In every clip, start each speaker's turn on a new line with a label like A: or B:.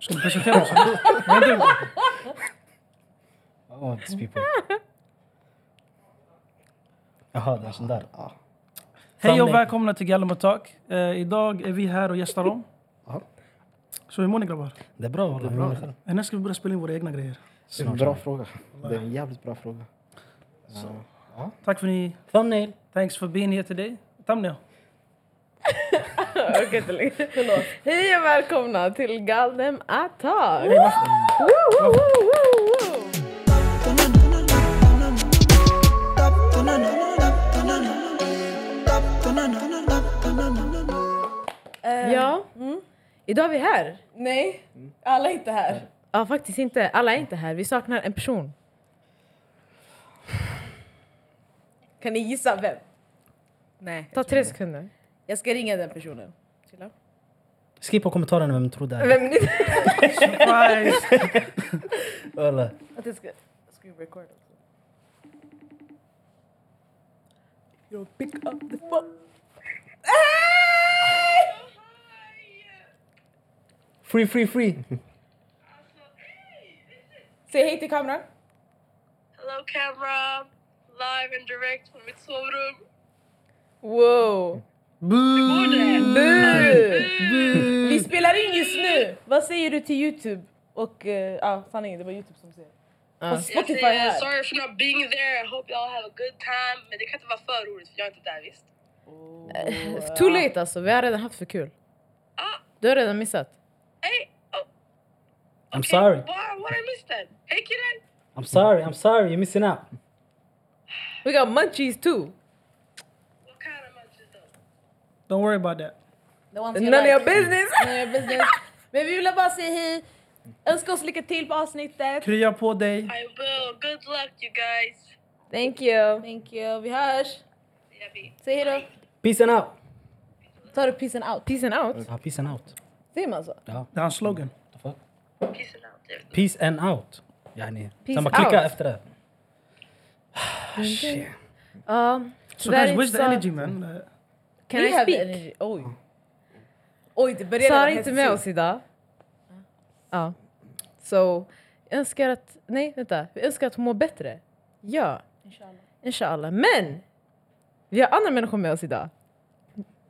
A: Ska du presentera oss? Vad är du?
B: Oh, these people. Jaha, det är sån där. Ja.
A: Hej och
B: Sanning.
A: välkomna till Gallum och Tak. Eh, idag är vi här och gästar om.
C: Ja.
A: Så hur mår ni grabbar?
B: Det är bra att hålla
C: Det är bra.
B: med själv.
A: Eh, När ska vi börja spela in våra egna grejer?
C: Det är en bra fråga. Det är en jävligt bra fråga.
A: Tack för ni.
B: Thumbnail.
A: Thanks for being here today. Thumbnail.
D: Jag orkar inte längre. Hej och välkomna till Galdem Attack! Woo, woo, woo, woo, woo. Ja, Mm. idag är vi här.
E: Nej, alla är inte här.
D: Ja, faktiskt inte. Alla är inte här. Vi saknar en person.
E: Kan ni gissa vem? Nej.
D: Ta tre sekunder.
E: Jag ska ringa den personen.
B: Skriv på kommentarerna vem du tror det är.
E: Vem ni...
A: Surprise!
B: Eller,
E: Att jag ska... Ska vi record också? You pick up the phone.
B: free, free, free.
E: Säg hej till kameran.
F: Hello camera, live and direct från mitt sovrum.
E: Wow.
F: Borde!
D: Mm.
E: Bu! Vi spelar in just nu. Vad säger du till Youtube? Och eh, ja, sanningen, det var Youtube som säger.
D: Ja.
E: Och
F: Jag
E: Spotify
F: säger
E: här.
F: sorry for not being there, I hope y'all have a good time. Men det kan inte vara för roligt för jag är inte där visst.
D: Too late alltså. Vi har redan haft för kul.
F: Ah.
D: Du har redan missat.
F: Hey! Oh,
B: I'm sorry.
F: Why, what I missed then? Hey kidden!
B: I'm sorry, I'm sorry. You're missing out.
D: We got munchies too.
F: What kind of munchies though?
A: Don't worry about that.
E: The ones you
D: None of
E: like.
D: your business!
E: None of your business. Men vi vill bara säga hej. Önska oss lycka till på avsnittet.
A: Krya på dig.
F: I will, good luck you guys.
D: Thank you.
E: Thank you. Vi hörs.
F: Jag vet.
E: Säg hej
B: Peace and out.
E: då. Tar du peace and out?
D: Peace and out.
B: Ja, peace and out.
E: Säger man så?
A: Det är hans slogan.
F: Peace and out. jag vet.
B: Peace and out. Yani.
D: Peace
B: Sen bara klicka
D: out.
B: efter det. Ah, shit.
D: Ja.
A: So
D: Tyvärr
A: guys, where's the
D: sa-
A: energy man? Eh,
D: Can
E: We
D: I
E: have
D: speak?
E: energy. Oj. Oj, det började
D: Sara är
E: redan
D: inte
E: hetsigt.
D: med oss idag. Ja. Så jag önskar att... Nej, vänta. Vi önskar att hon mår bättre. Ja,
E: Inshallah.
D: inshallah. Men! Vi har andra människor med oss idag.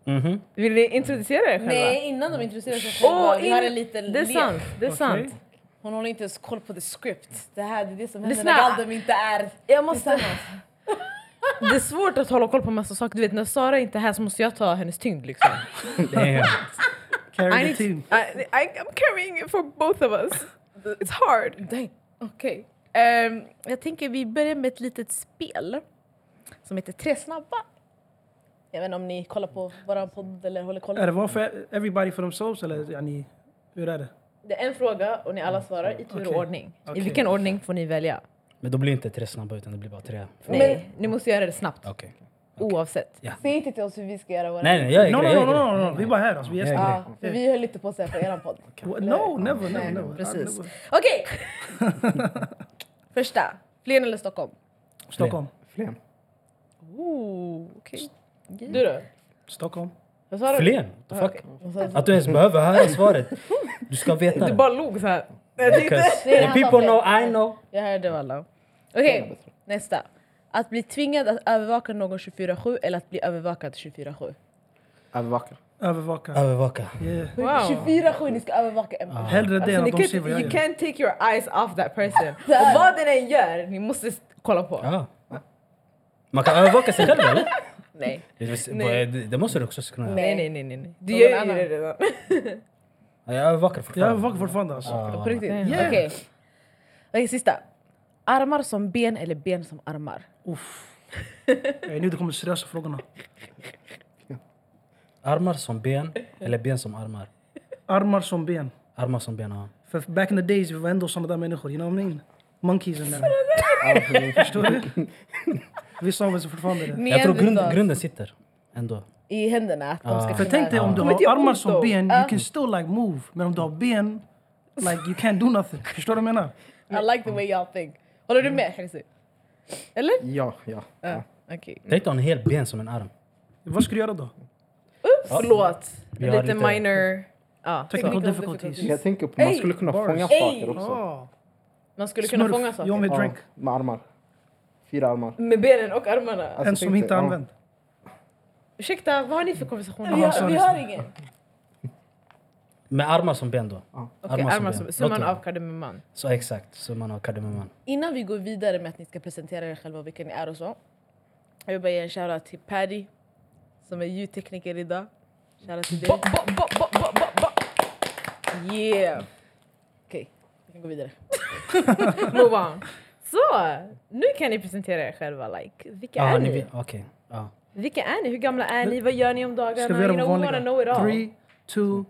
B: Mhm.
D: Vill ni introducera er själva?
E: Nej, innan de introducerar sig själva.
D: Åh,
E: vi har
D: in-
E: en liten
D: Det är
E: lek.
D: sant. Det är
A: okej.
D: sant.
E: Hon håller inte ens koll på the script. Det här det är det som händer
D: Lyssna.
E: när Galdem inte är
D: Jag måste... Det är svårt att hålla koll på massa saker. Du vet, när Sara inte är här så måste jag ta hennes tyngd liksom.
B: Damn.
A: Carry the
D: need-
A: team.
D: I, I, I'm carrying it for both of us. It's hard.
E: Dang.
D: Okej. Ehm, jag tänker vi börjar med ett litet spel som heter Tre snabba.
E: Jag vet inte om ni kollar på våran podd eller håller koll.
A: Är det var för everybody for themselves eller yani, hur är det?
D: Det är en fråga och ni alla svarar i tur och
A: Okej.
D: ordning.
A: Okej.
D: I vilken ordning får ni välja?
B: Men då blir det inte tre snabba utan det blir bara tre.
D: Nej, ni måste göra det snabbt
B: Okej.
D: oavsett.
E: Säg inte till oss hur vi ska göra våra...
B: Nej, nej, jag är
A: No, no,
B: grej, jag
A: no,
B: är grej.
A: no, no, no. vi är bara här alltså. Vi är
B: Jag är
A: gäster.
E: Ja, för vi höll lite på att säga på eran podd.
A: What? No, never, never,
E: Nej,
A: never.
E: precis.
A: Never.
E: Okej! Första. Flen eller Stockholm?
A: Stockholm.
C: Flen.
D: Ooh, okay. Du då?
A: Stockholm.
E: Vad sa du?
B: Flen? What the fuck?
E: Vad sa du?
B: Att du ens behöver höra svaret. Du ska veta
D: Du
B: det.
D: bara log så här. Jag tänkte-
B: Because
E: Det är
B: the
E: han som
B: people
E: vet.
B: know, I know.
D: Jag hörde alla. Okej, nästa. Att bli tvingad att övervaka någon 24-7 eller att bli övervakad 24-7?
C: Övervakare.
A: Övervaka.
B: Övervaka.
A: Yeah.
D: Wow.
E: 24-7, ni ska övervaka en person.
A: Hellre det än
D: Alltså, ni
A: att
D: kan
A: de
D: inte,
A: ser vad
D: you
A: jag gör.
D: can't take your eyes off that person. Och vad den än gör, ni måste s- kolla på.
B: Ja. Man kan övervaka sig själv eller?
D: Nej.
B: Det- Det det måste du också kunna göra.
D: Nej, nej, nej, nej, nej. Du
E: Någon
D: gör ju
E: annan.
D: det redan.
B: Ja, Jag övervakar
A: Jag
B: fortfarande.
A: övervakar fortfarande alltså.
B: Ah.
D: På riktigt.
A: Yeah.
D: Okej. Okej, sista. Armar som ben eller ben som armar?
A: Uff. Jag är nu det kommer seriösa frågorna.
B: Armar som ben eller ben som armar?
A: Armar som ben.
B: Armar som ben, ja.
A: För back in the days vi var ändå såna där människor, you know what I mean? Monkeys eh, and that. Förstår du? Vissa av oss är fortfarande det.
B: Jag tror grund,
D: Neandertal.
B: grunden sitter ändå.
E: I händerna, att de ska
A: För tänk dig om du
D: Kommer inte
A: har
D: göra
A: armar
D: ont
A: som
D: då. Ah,
A: ben, you can still like move. Men om du har ben, like you can't do nothing. Förstår du vad jag menar?
E: I like the way y'all think. Håller du med Hirsi? Eller?
C: Ja, ja.
E: Ja. Okej.
B: Tänk dig om en hel ben som en arm.
A: Vad ska du göra då?
D: Förlåt.
B: Vi har
D: Lite
B: lite-
D: minor
G: Ja, så.
A: Technical
F: Technical
A: difficulties.
F: difficulties.
C: Jag tänker på man
F: Ey,
C: skulle kunna
A: bars.
C: fånga
F: Ey.
C: saker också.
A: Ah,
F: Man skulle kunna
A: smurf.
F: fånga
A: Jag
F: saker.
A: med
C: Ja,
A: drink.
C: med armar. Fyra armar.
F: Med benen och armarna.
C: Alltså,
A: en som
C: tänk
A: inte
C: dig, ja.
A: använd.
G: Ursäkta, vad har ni för konversation?
F: Vi har,
A: sorry,
F: vi har
A: sorry.
F: ingen.
B: Med armar som ben då.
C: Ja.
G: Okej,
B: som
G: armar
B: ben.
G: som
B: Låt
G: summan
B: det.
G: av kardemumman.
B: Så exakt, summan av kardemumman.
F: Innan vi går vidare med att ni ska presentera er själva och vilka ni är och så. Jag vill bara ge en shoutout till Paddy som är ljudtekniker idag. Shoutout till dig. Yeah! Okej, vi kan gå vidare.
G: Move on. Så, nu kan ni presentera er själva. Like, vilka
B: Ah,
G: är
B: ni
G: ni?
B: vet- Okej. ja.
G: Vilka är ni? Hur gamla är ni? Vad gör ni om dagarna?
A: Ska vi göra
G: you
A: de
G: know, we wanna know it
A: vanliga?
G: all.
A: Three, two,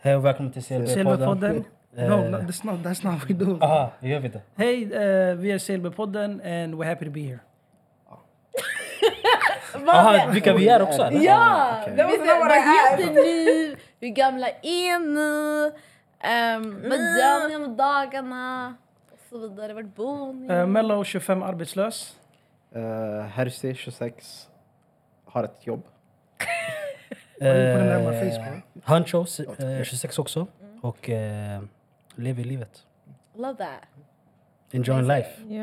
B: Hej och välkommen till Silverpodden.
A: Silverpodden. No, no, that's not, that's not what we do.
B: Eh, Aha, gör vi det?
A: Hej, eh, vi är Silverpodden and we're happy to be here.
B: Aha, vilka vi är också eller?
F: Ja!
B: okej.
F: Det
G: Visst
F: måste
G: är-
F: vara
G: vad
F: här.
G: heter ni? Hur gamla är ni? Ehm, vad
F: Mm.
G: gör ni om dagarna? Och så vidare. Vart bor ni?
F: Ehm.
A: Eh, Mello, 25, arbetslös.
C: Uh, Herse, 26, har ett jobb.
A: Var inne på den där med Facebook.
B: Eh, Hancho, si- eh, 26 också. Och eh, lever livet.
G: Love that.
B: Enjoy life,
G: Ja.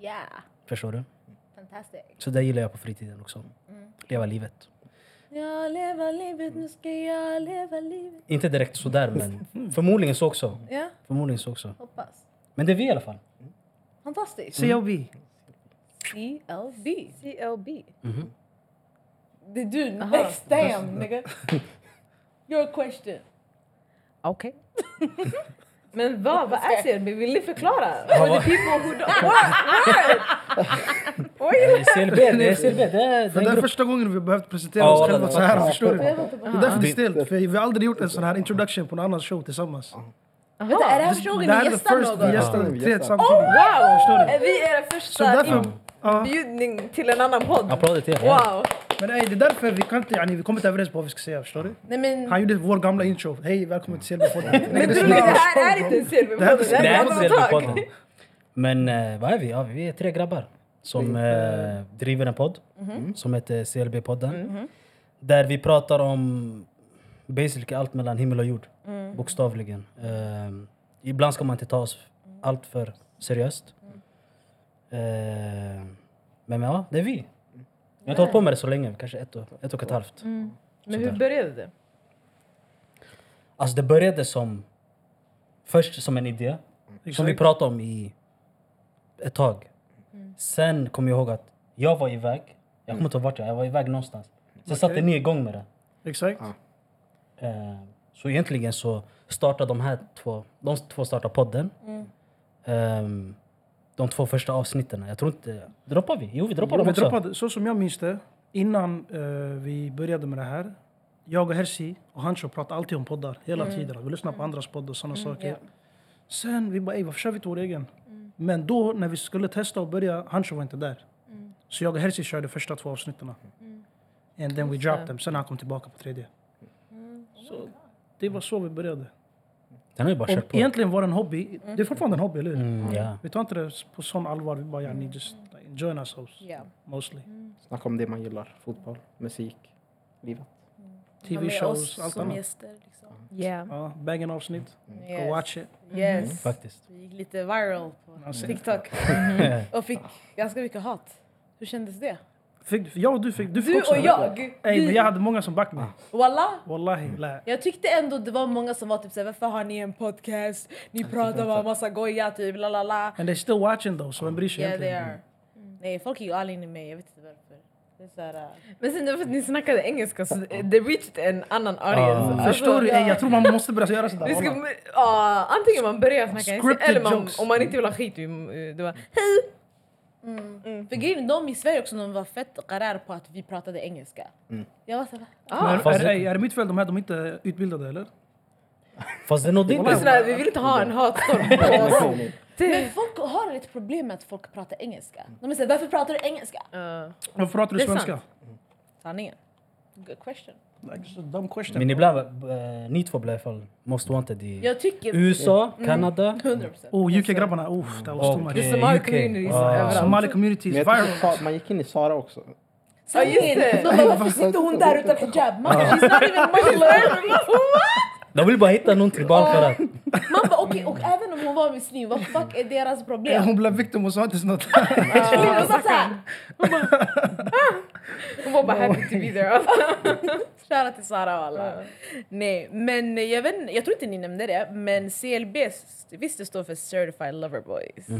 G: Yeah.
B: förstår du?
G: Fantastic.
B: Så det gillar jag på fritiden också.
G: Mm.
B: Leva livet.
G: Jag lever livet, nu ska jag leva livet.
B: Inte direkt sådär, men förmodligen så också.
G: Ja,
B: Förmodligen så också.
G: hoppas.
B: Men det är vi i alla fall.
G: Fantastiskt.
A: CLB.
G: CLB. CLB.
B: Mhm.
F: Det är du,
G: Aha.
F: next damn nigga. Your question.
G: Okej. Men vad, vad är CLB? Vill ni förklara? For the people who don't...
B: Eh, CLB, det är CLB. Det är, det
A: För det
B: är en
A: är
B: grupp.
A: första gången vi behövt presentera
B: Ja,
A: oss
B: det-
A: själva så här. Förstår du?
F: Jag vet inte
A: Det är
F: vad-
A: därför det är stelt. För vi har aldrig gjort en sån här introduction på någon annans show tillsammans.
F: Vänta, är det här första gången
A: här
F: ni
A: är the
F: gästar
A: first vi
F: någon?
A: gästar
C: Ja.
A: tre
F: Oh,
A: samtidigt.
F: wow!
A: du?
F: Är vi era
A: Så
F: första
A: därför... Ja.
F: inbjudning till en annan podd?
B: Applåder till er. ja.
F: Wow!
A: Men ey, det är därför vi kan inte, yani, vi kommer inte överens på vad vi ska säga. Förstår du?
F: Nej men,
A: Han gjorde vår gamla intro. Hej, välkommen till Silverpodden.
F: men du, det här är inte en
A: Det här är-
F: CLB-podd.
B: Det här är
F: undantag.
B: CLB-podden. Men eh, vad är vi? Ja, vi är tre grabbar som eh, driver en podd Mm. som heter CLB-podden. Mm. Där vi pratar om basically allt mellan himmel och jord. Bokstavligen. Eh, ibland ska man inte ta oss allt för seriöst. Eh, men ja, det är vi. Vi har inte hållit på med det så länge, kanske ett och ett, och ett halvt.
G: Men hur
B: Sådär.
G: började det?
B: Alltså det började som... Först som en idé. Som vi pratade om i ett tag. Sen kom jag ihåg att jag var iväg. Jag
A: Mm.
B: kommer inte ihåg vart jag var. Jag var iväg någonstans. Sen satte ni igång med det.
A: Exakt.
B: Eh, Så egentligen så startade de här två, de två startade podden. Ehm, De två första avsnitten. Jag tror inte... Droppar vi? Jo, vi droppar
A: Jo,
B: dem
A: vi
B: också.
A: droppade, så som jag minns det, innan eh, vi började med det här. Jag och Hersi och Hancho pratade alltid om poddar hela tiden. Vi lyssnade på andras poddar och sådana saker. Sen vi bara, "Ey, varför kör vi inte vår egen? Men då när vi skulle testa och börja, Hancho var inte där. Så jag och Hersi körde första två avsnitten. And then we dropped them. Sen han kom tillbaka på tredje. Så det var så vi började.
B: Den har ju bara kört
A: Och
B: på.
A: egentligen var det en hobby. Det är fortfarande en hobby, eller hur?
B: Mm, ja.
A: Vi tar inte det på sån allvar. Vi bara, yeah, just like, enjoying ourselves.
F: Ja.
A: Mostly.
C: Snacka om det man gillar. Fotboll, musik, livet.
F: Ha med
A: TV-shows,
F: oss
A: allt
F: som
A: annat.
F: gäster, liksom.
G: Yeah.
A: Ja, bang avsnitt. Go watch it.
G: Mm-hmm.
F: Yes.
B: Faktiskt.
F: Vi gick lite viral på
A: Alltså.
F: TikTok och fick ganska mycket hat. Hur kändes det?
A: Fick, jag och du fick, du fick
F: Du
A: också.
F: och jag!
A: Ey, men
F: vi- Ah.
A: jag hade många som backade mig.
F: Wallah!
A: Wallahi.
B: Mm.
A: lä.
F: Jag tyckte ändå det var många som var typ såhär, varför har ni en podcast? Ni pratar bara massa goja typ, la la la.
A: And they're still watching though, så vem bryr sig
F: Yeah they
A: egentligen?
F: are. Nej folk gick all in i mig, jag vet inte varför. Det är äh. såhär...
G: Men sen det var för att ni snackade engelska så eh, det reached en annan audience. Alltså,
B: Ah.
A: Förstår du?
F: Alltså, ja.
A: Ey, jag tror man måste börja göra sådär.
G: Vi ska,
A: wallah.
G: ja, antingen man börjar snacka engelska
A: Scripted
G: eller man,
A: jokes.
G: om man inte vill ha skit. eh, Du bara,
F: För grejen är, de i Sverige också, de var fett qarar på att vi pratade engelska.
A: Mm.
F: Jag var såhär,
A: Men
B: Fast
A: är,
B: det-
A: ey, är det mitt fel de här de inte är utbildade eller?
B: Fast det nådde
G: Det är
B: inte...
G: sådär, vi vill inte ha en hatstorm på oss.
C: Nej, nej.
F: men folk har ett problem med att folk pratar engelska. De är såhär, varför pratar du engelska?
G: Ja.
A: Varför pratar du
G: Det är
A: svenska?
F: Sanningen. Good question.
A: Like, so dumb question.
B: Men ibland, eh, ni två blev i alla fall most wanted i
F: Jag tycker
B: USA,
F: Mm.
B: Kanada,
F: 100%.
A: Oh, UK-grabbarna. Oh, that was too
B: Och,
A: much.
B: eh,
G: Somali
B: UK.
G: communities
B: Ja.
G: överallt.
A: Somali communities,
C: Men jag tycker
A: viral.
C: Sa- man gick in i Sara också.
F: Sanningen!
G: just det.
F: De bara, varför sitter hon där utan hijab? Man, she's not even muslim!
B: De vill bara hitta någon tribal för att...
F: Man bara okej, och även om hon var muslim, vad fuck är deras problem? Typ,
A: Hon blev victim och sa inte sånt.
F: Hon sa såhär,
G: Hon var bara happy to be there. Shoutout till Sara och alla.
F: Nej, men jag, vet, jag tror inte ni nämnde det, men CLB, visst det står för Certified Lover Boys.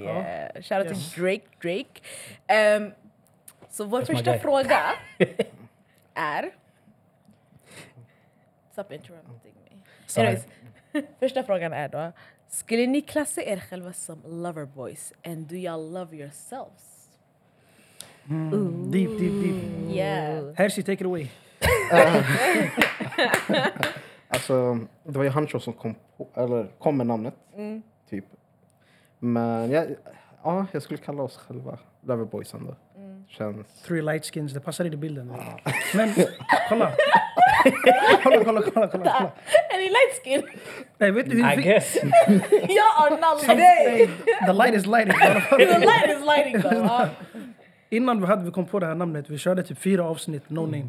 F: Yeah. Shoutout
A: Yes.
F: till Drake, Drake. Ehm, så vår
B: my
F: första
B: guy.
F: fråga är... Stop interrupting me.
B: Sorry.
F: Anyways, första frågan är då, skulle ni klassa er själva som lover boys and do y'all love yourselves?
A: Deep, deep, deep.
F: Yeah.
A: Hershey, take it away.
C: Alltså, det var ju Hancho som kom, på, eller kom med namnet. Typ. Men jag, ja, jag skulle kalla oss själva Loverboys ändå. Känns...
A: Three light skins, det passar in i bilden. Men kolla. kolla, kolla, kolla, kolla, kolla.
F: Är ni light skin?
A: Nej, vet du hur
B: I
A: vi fick...
B: guess.
F: Jag are not light.
A: The light is lighting.
F: The light is lighting though. ja.
A: Innan vi hade vi kom på det här namnet, vi körde typ fyra avsnitt, no name.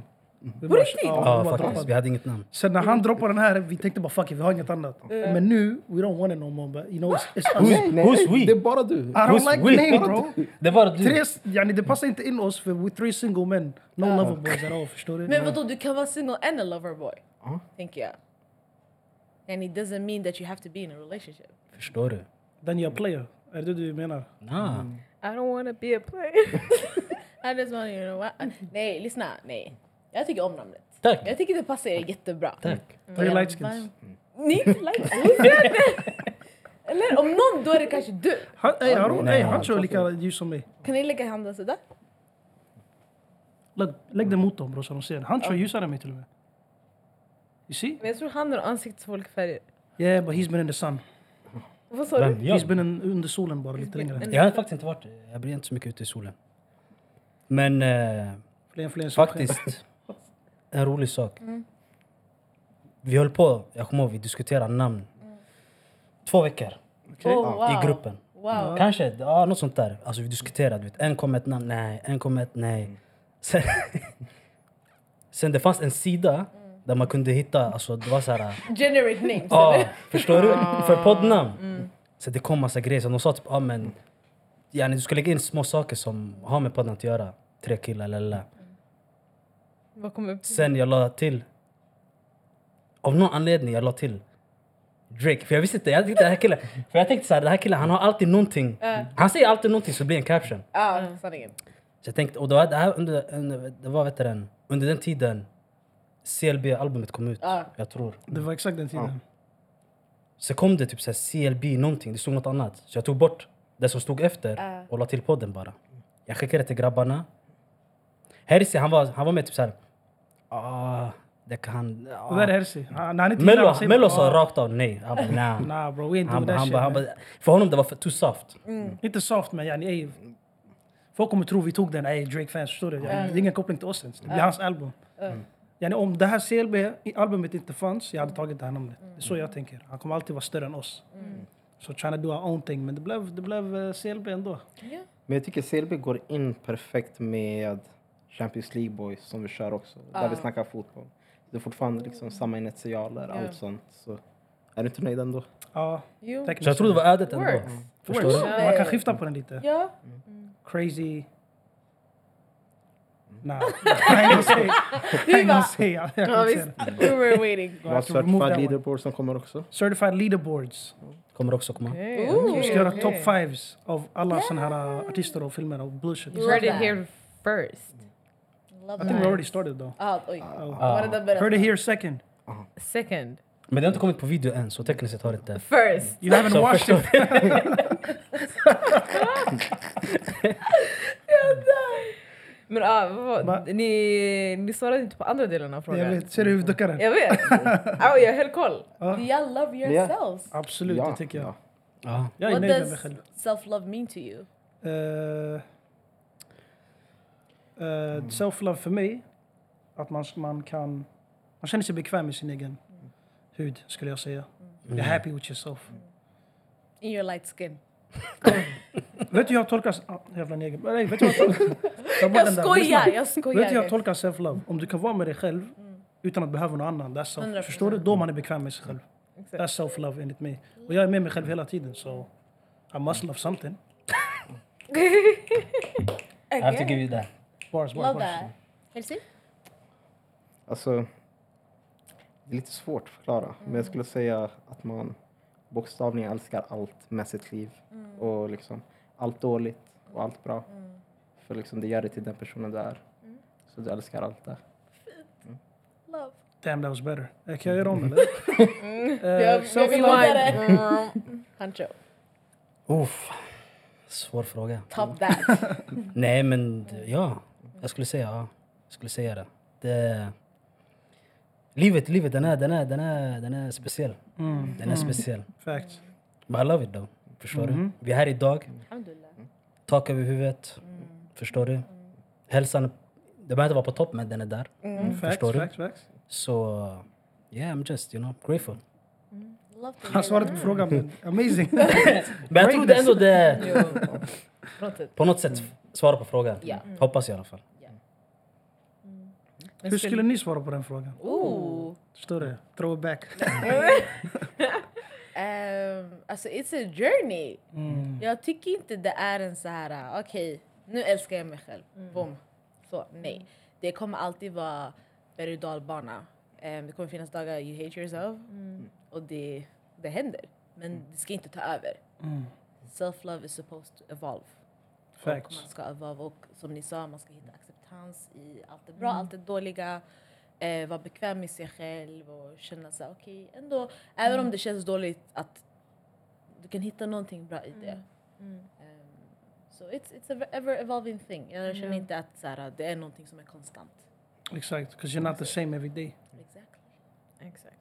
A: Vi bara,
F: riktigt?
A: ja, vi
B: Ja,
A: bara
B: faktiskt. Vi
A: droppade.
B: hade inget namn.
A: Sen när han droppade den här, vi tänkte bara fuck it, vi har inget annat. Men nu, we don't want it no more. But, you know, it's, it's us.
B: Who's, who's
C: Det är
B: we?
C: bara du.
A: I don't
B: Who's
A: like
B: we?
A: name bro.
B: Det var du.
A: Tre, yani, det passar inte in oss för we're three single men. No lover boys at all, förstår du?
F: Men vadå, du kan vara single and a lover boy? Tänker jag. And it doesn't mean that you have to be in a relationship.
B: Förstår du?
A: Then you're a player. Är det det du menar?
B: Ah.
F: I don't wanna be a player. I just wanna, you know what? Nej, lyssna. Nej. Jag tycker om namnet.
B: Tack.
F: Jag tycker det passar er jättebra.
B: Tack.
A: Three light skins.
F: Ni är inte light skin. Eller om någon, då är det kanske du.
A: Han, ey, han,
B: Nej,
A: ey, han
B: han
A: kör lika ljus som mig.
F: Kan ni lägga handen sådär?
A: Lägg, lägg den mot dem bror så de ser. Han kör ljusare än mig till och med. You see?
F: Men jag tror handen och ansiktets olika färger.
A: Yeah but he's been in the sun.
F: Vad sa du?
B: Vem?
A: He's
B: Jag?
A: been in, under solen bara lite längre.
B: jag har faktiskt inte varit... Jag blir inte så mycket ute i solen. Men eh,
A: Fler, fler,
B: faktiskt, en rolig sak. Vi höll på, jag kommer ihåg, vi diskuterade namn. Två veckor
F: Oh,
B: i gruppen.
F: Wow.
B: Kanske, ja, något sånt där. Alltså vi diskuterade, vet, en kom med ett namn, nej, en kom med ett nej. Sen, sen det fanns en sida där man kunde hitta, alltså det var så här...
F: Generate names.
B: Ja, Ah. Mm. förstår du? För poddnamn. Så det kom massa grejer. Så de sa typ, ah, men, yani, du ska lägga in små saker som har med podden att göra. Tre killar, lalla.
F: Vad kommer upp?
B: Sen jag la till, av någon anledning jag la till Drake. För jag visste inte, jag tänkte den här killen, för jag tänkte så här, den här killen han har alltid någonting. Han säger alltid någonting så det blir en caption.
F: Ja, sanningen.
B: Så jag tänkte, och det var, det här under, under, det var vet du, den, under den tiden CLB-albumet kom ut,
F: Ja.
B: jag tror.
A: Det var exakt den tiden.
B: Så kom det typ så här CLB någonting, det stod något annat. Så jag tog bort det som stod efter och la till podden bara. Jag skickade till grabbarna. Hersey han var, han var med typ så här. Ah, det kan han...
A: Det där är
B: Ah.
A: Herzi. Han han är inte
B: Mello,
A: gillar, säger
B: Mello
A: bara,
B: sa
A: "Ah,
B: rakt av nej. Han bara, nah.
A: Nah bro, we ain't
B: han,
A: doing
B: bara-
A: that
B: han,
A: shit.
B: bara- han, bara- för honom det var för, too soft.
F: Mm.
A: Inte soft men yani, ey. Folk kommer tro vi tog den, ey Drake-fans, förstår du? Yani, Det är ingen koppling till oss ens. Det blir hans album. Yani, om det här CLB-albumet inte fanns, jag hade tagit det här namnet. Det är så jag tänker. Han kommer alltid vara större än oss.
F: Mm.
A: Så trying to do our own thing, men det blev, det blev eh, CLB ändå.
C: Men jag tycker CLB går in perfekt med Champions League Boys som vi kör också. Där vi snackar fotboll. Det är fortfarande liksom samma initialer, allt sånt. Så är du inte nöjd ändå?
A: Ja,
F: Jo.
A: tekniskt.
B: Så jag tror det var ödet ändå.
F: Works.
B: Förstår
A: Works.
B: du?
A: Man kan skifta på den lite.
F: Ja.
A: Crazy... Nah, I ain't gonna say. I ain't gonna say. Jag kan
F: Ja,
A: inte säga
F: visst.
A: det.
F: We were waiting.
C: Vi har
A: to remove that
C: Certified
A: one.
C: Leaderboard som kommer också.
A: Certified leaderboards.
B: Kommer också komma.
A: Vi ska göra top fives av alla såna här artister och filmer och bullshit.
F: You heard it
G: here
D: first.
A: I think we already started though.
F: Ah, oj.
A: Oh.
F: Var det där
A: Heard it
F: berättat?
A: here second.
D: Second.
B: Men det har inte kommit på video än så tekniskt sett har det inte...
F: First.
A: You haven't
B: Så
A: watched it.
D: Men ah, vad,
A: Va?
D: ni, ni svarade inte på andra delen av frågan.
A: Jag vet, ser du hur vi duckar den?
D: Jag vet. Au, jag höll koll.
F: Do y'all love yourselves?
A: Absolut,
C: Ja,
A: det tycker jag.
C: ja.
B: Ja.
A: Jag är
F: What
A: nöjd med mig
F: does
A: själv.
F: self-love mean to you?
A: Eh, eh, Self-love för mig, att man, man kan... Man känner sig bekväm i sin egen hud, skulle jag säga. You're happy with yourself.
F: In your light skin.
A: Vet du hur jag tolkar... Ah, jävla neger. Nej, vet du hur jag tolkar... Jag, bara
F: Jag
A: den där.
F: skojar, Mm.
A: Lyssna. Vet
F: jag
A: du hur jag
F: skojar.
A: tolkar self-love? Om du kan vara med dig själv utan att behöva någon annan. That's self.
G: 100%.
A: Förstår du? Då man är bekväm med sig själv.
D: Exakt.
A: That's self-love enligt mig. Och jag är med mig själv hela tiden. So I must love something.
B: I have to give you that.
A: Bars, bars,
G: Love
A: bars.
G: that. Hälsi?
C: Alltså, det är lite svårt att förklara, men jag skulle säga att man bokstavligen älskar allt med sitt liv. Och liksom allt dåligt och allt bra. För liksom det gör dig till den personen du är. Så du älskar allt det.
G: Love.
A: Damn that was better. Eh, Kan jag göra om eller? Eh,
F: Jag, jag vill
A: Self-love.
F: ha
G: vidare.
F: en... Hancho.
B: Uff. Svår fråga.
G: Top that.
B: Nej, men d- ja. Jag skulle säga, ja. Jag skulle säga det. det livet, livet, den är, den är, den är, den är speciell.
A: Mm.
B: Den är speciell.
A: Facts.
B: But I love it though. Förstår du? Vi är här idag.
F: Alhamdulillah.
B: Tak över huvudet. Förstår du? Hälsan, det behöver inte vara på topp, men den är där. Förstår
A: Facts,
B: du?
A: facts, facts.
B: Så, yeah, I'm just, you know, grateful.
G: Love to
A: Han
G: hear
A: svarade på frågan men amazing.
B: Men jag trodde ändå det,
D: På något sätt.
B: på något sätt, svara på frågan.
F: Ja.
B: Hoppas jag i alla fall.
D: Men
A: Hur skulle ni svara på den frågan?
F: Ooh.
A: Förstår du? Throwback.
F: Ehm, alltså, it's a journey.
A: Mm.
F: Jag tycker inte det är en så här, uh, okej, nu älskar jag mig själv. Boom. Så nej. Det kommer alltid vara berg och dalbana. Ehm, det kommer finnas dagar you hate yourself. Och det, det händer. Men det ska inte ta över.
A: Mm.
F: Self-love is supposed to evolve. Och
A: Facts.
F: man ska evolve och som ni sa, man ska hitta acceptans i allt det bra, allt det dåliga. Eh, vara bekväm med sig själv och känna så här, okej, ändå. Även om det känns dåligt att du kan hitta någonting bra i det. Ehm, so it's, it's a ever evolving thing. Jag känner inte att så här, det är någonting som är konstant.
A: Exakt, because you're not the same every day.
F: Exactly.
D: Exakt.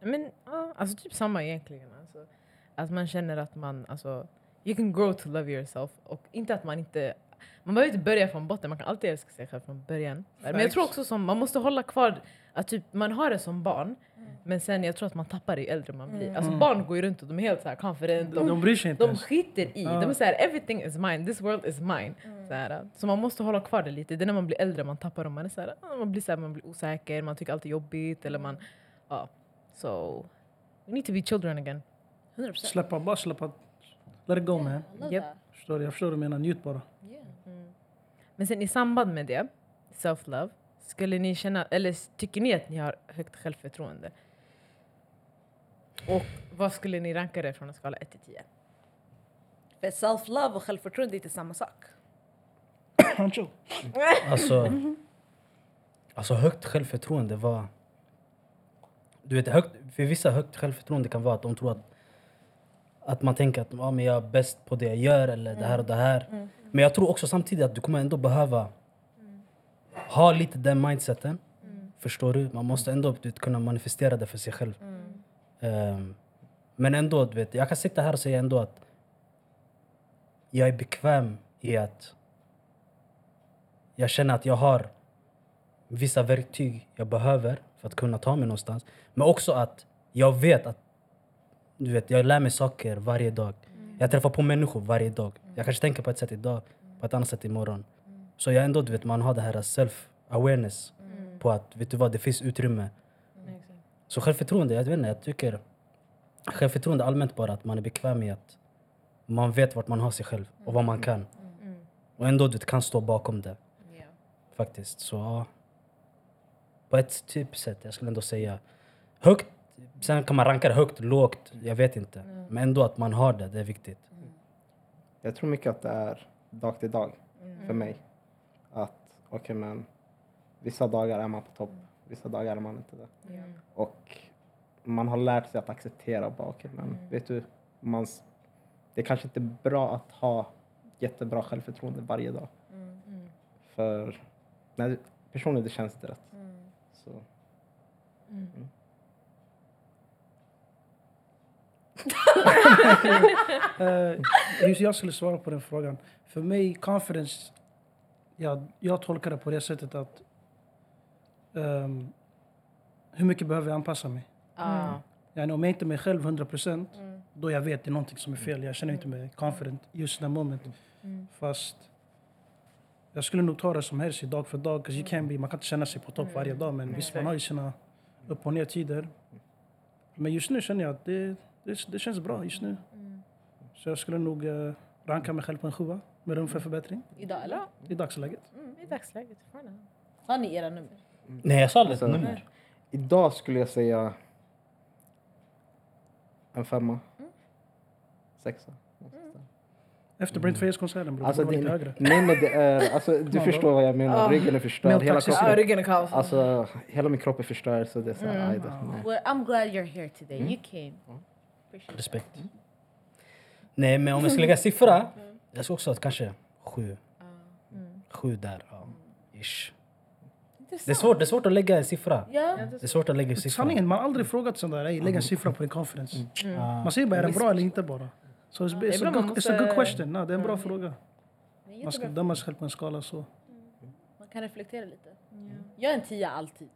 D: Men ja, alltså typ samma egentligen. Alltså. Att man känner att man, alltså, you can grow to love yourself. Och inte att man inte, man behöver inte börja från botten, man kan alltid älska sig själv från början. Men jag
A: Facts.
D: tror också som, man måste hålla kvar, att typ, man har det som barn, men sen jag tror att man tappar det ju äldre man blir. Alltså barn går ju runt och de är helt så här confident. De,
A: De bryr sig inte
D: de
A: ens.
D: skiter i, de
A: Ja.
D: är såhär everything is mine, this world is mine. Så, så man måste hålla kvar det lite, det är när man blir äldre man tappar dem, man, är så här, ah, man, blir så här, man blir osäker, man tycker allt är jobbigt eller man... Ja. So, we need to be children again.
F: 100 procent.
A: Släppa, bara släppa. Let it go man.
F: Love
D: Yep.
F: that.
A: Förstår du? Jag förstår vad du menar, njut bara.
F: Yeah.
D: Men sen i samband med det, self-love, skulle ni känna, eller s- tycker ni att ni har högt självförtroende? Och vad skulle ni ranka det från en skala 1 till 10?
F: För self-love och självförtroende är inte samma sak.
A: Hancho.
B: Alltså, alltså högt självförtroende var... Du vet, högt, för vissa högt självförtroende kan vara att de tror att, att man tänker att ah, men jag är bäst på det jag gör eller det här och det här. Men jag tror också samtidigt att du kommer ändå behöva ha lite den mindseten. Förstår du? Man måste ändå du vet, kunna manifestera det för sig själv. Ehm, men ändå, du vet, jag kan sitta här och säga ändå att jag är bekväm i att jag känner att jag har vissa verktyg jag behöver för att kunna ta mig någonstans. Men också att jag vet att du vet, jag lär mig saker varje dag. Jag träffar på människor varje dag. Jag kanske tänker på ett sätt idag, på ett annat sätt imorgon. Så jag ändå, du vet, man har det här self-awareness
D: Mm.
B: på att vet du vad, det finns utrymme. Så självförtroende, jag vet inte, jag tycker självförtroende allmänt bara att man är bekväm i att man vet vart man har sig själv och vad man kan. Och ändå du vet, kan stå bakom det
F: Yeah.
B: faktiskt. Så ja. På ett typ sätt, jag skulle ändå säga högt. Sen kan man ranka det högt, lågt, jag vet inte. Men ändå att man har det, det är viktigt.
C: Jag tror mycket att det är dag till dag
F: Mm.
C: för mig. Att okej men vissa dagar är man på topp, vissa dagar är man inte det. Och man har lärt sig att acceptera bara okej men vet du, man, s- det är kanske inte är bra att ha jättebra självförtroende varje dag.
D: Mm.
F: Mm.
C: För när du- personligen det känns inte rätt. Så,
D: Mm.
A: Eh, just jag skulle svara på den frågan. För mig, confidence, jag, jag tolkar det på det sättet att ehm, hur mycket behöver jag anpassa mig?
F: Ah.
A: Yani, om jag inte är mig själv 100 procent, då jag vet det är någonting som är fel. Jag känner inte mig confident just den moment. Fast eh, Jag skulle nog ta det som helst dag för dag. 'cause You can be, man kan inte känna sig på topp varje dag. Men visst, man har ju sina upp och ner-tider. Men just nu känner jag att det, det, det känns bra just nu. Så jag skulle nog eh, ranka mig själv på en sjua med rum för förbättring
F: Idag eller?
A: i dagsläget.
D: Mm, I dagsläget fortfarande.
F: Har ni era nummer?
B: Mm. Nej, jag sa aldrig ett
C: Alltså,
B: nummer.
C: Idag skulle jag säga en femma. Sexa.
A: Efter Brent Fayez-konserten bror,
C: Alltså,
A: det var
C: det,
A: lite högre.
C: nej, men det är, alltså, du
A: Ja,
C: förstår vad jag menar.
D: Ah.
C: Ryggen är förstörd. Hela,
A: tack så
C: kroppen,
D: ryggen är kaos.
C: alltså, hela min kropp är förstörd. Så det är så här, aj då, nej.
F: Well, I'm glad you're here today.
B: Mm.
F: You came. Appreciate it.
B: Respekt. Nej, men om jag ska lägga siffra, jag ska också ha kanske sju. Sju där, ja. Ish. Det är, svårt, det är svårt att lägga en siffra.
F: Ja.
B: Det är svårt att lägga en siffra.
A: Sanningen, man har aldrig frågat sån där, "Ey, lägg en siffra på en conference.
B: Mm.
F: Mm.
B: Ah.
A: Man säger bara, är den bra eller inte bara? Så it's,
D: är
A: it's, a
D: bra,
A: good,
D: man
A: it's a good
D: måste-
A: question. Nej, det är en bra fråga.
F: Det är
A: Man ska
F: Mm. jättebra.
A: döma sig själv på en skala så.
F: Man kan reflektera lite. Jag är en tia alltid.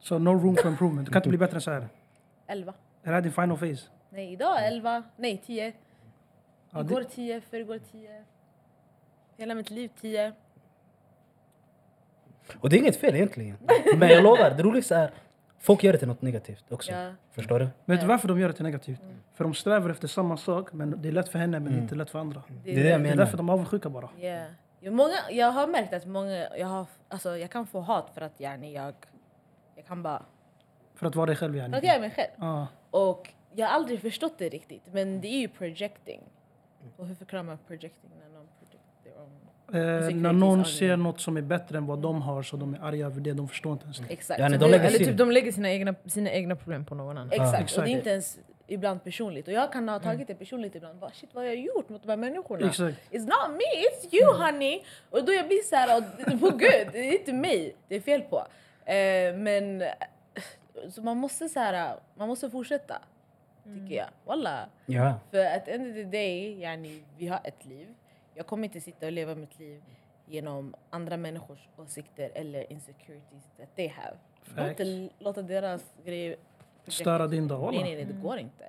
A: Så no room for improvement. Du kan inte bli bättre än så här. Är
F: Elva.
A: det här din final phase?
F: Nej, idag elva. Nej, tio.
A: Ja,
F: Igår
A: det,
F: tio, förrgår tio. Hela mitt liv tio.
B: Och det är inget fel egentligen. Men jag lovar, det roligaste är folk gör det till något negativt också.
F: Ja. Mm.
B: Förstår du?
A: vet du varför de gör det till negativt? För de strävar efter samma sak, men det är lätt för henne men inte lätt för andra.
B: Det är det Mm. jag
A: Det är
B: menar.
A: därför de är avundsjuka bara.
F: Yeah. Ja, många, jag har märkt att många, jag, har, alltså, jag kan få hat för att yani, jag, jag kan bara...
A: För att vara dig själv
F: För att
A: yani.
F: jag är mig själv.
A: Ja.
F: Och jag har aldrig förstått det riktigt, men det är ju projecting. Och hur förklarar man projecting när någon project their own?
A: Eh, när någon ser något som är bättre än vad de har så de är arga över det. De förstår inte ens det.
F: Exakt.
B: Yani,
F: Så
B: de
F: det- typ-
B: lägger
D: Eller
B: sin-
D: typ de lägger sina egna, sina egna problem på någon annan.
F: Exakt.
A: exakt.
F: Och det är inte ens ibland personligt. Och jag kan ha tagit det personligt ibland. Bara, shit, vad har jag gjort mot de här människorna?
A: Exakt.
F: It's not me, it's you honey! Och då jag blir så här, och, på gud, det är inte mig det är fel på. Eh, men så man måste så här, man måste fortsätta. Tycker jag. Walla.
B: Ja.
F: För at the end of the day, yani, vi har ett liv. Jag kommer inte sitta och leva mitt liv genom andra människors åsikter eller insecurities that they have. Låt
A: Facts.
F: inte låta deras grejer...
A: Störa din dag.
F: Nej,
A: walla.
F: nej, nej, det går inte.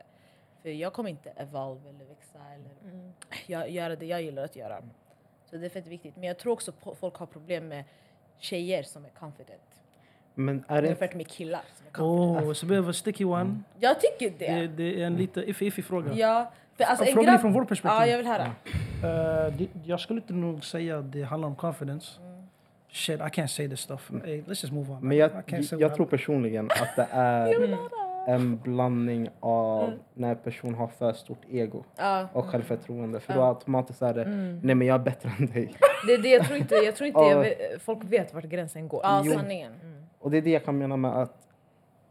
F: För jag kommer inte evolve eller växa eller
D: Mm.
F: jag, göra det jag gillar att göra. Så det är fett viktigt. Men jag tror också po- folk har problem med tjejer som är confident.
C: Men är det inte...
F: Jämfört med killar som är confident.
A: Oh, it's a bit of a sticky one.
F: Jag tycker
A: Det,
F: det.
A: det är en lite iffy-iffy fråga.
F: Ja. För alltså, en
A: Frågan är
F: grabb-
A: från vårt perspektiv.
F: Ja, jag vill höra.
A: Eh, det, jag skulle inte nog säga att det handlar om confidence.
D: Mm.
A: Shit, I can't say this stuff. Hey, let's just move on.
C: Men jag,
A: I can't say
C: jag
A: what
C: tror
A: I-
C: personligen att det är
D: Mm.
C: en blandning av när en person har för stort ego
F: Ja.
C: och självförtroende. För då automatiskt är det,
D: Mm.
C: nej men jag är bättre än dig.
D: Det, det, jag tror inte, jag tror inte
C: Ja.
D: jag vet, folk vet vart gränsen går. Alltså,
F: Ja,
C: Jo.
F: sanningen.
A: Mm.
C: Och det är det jag kan mena med att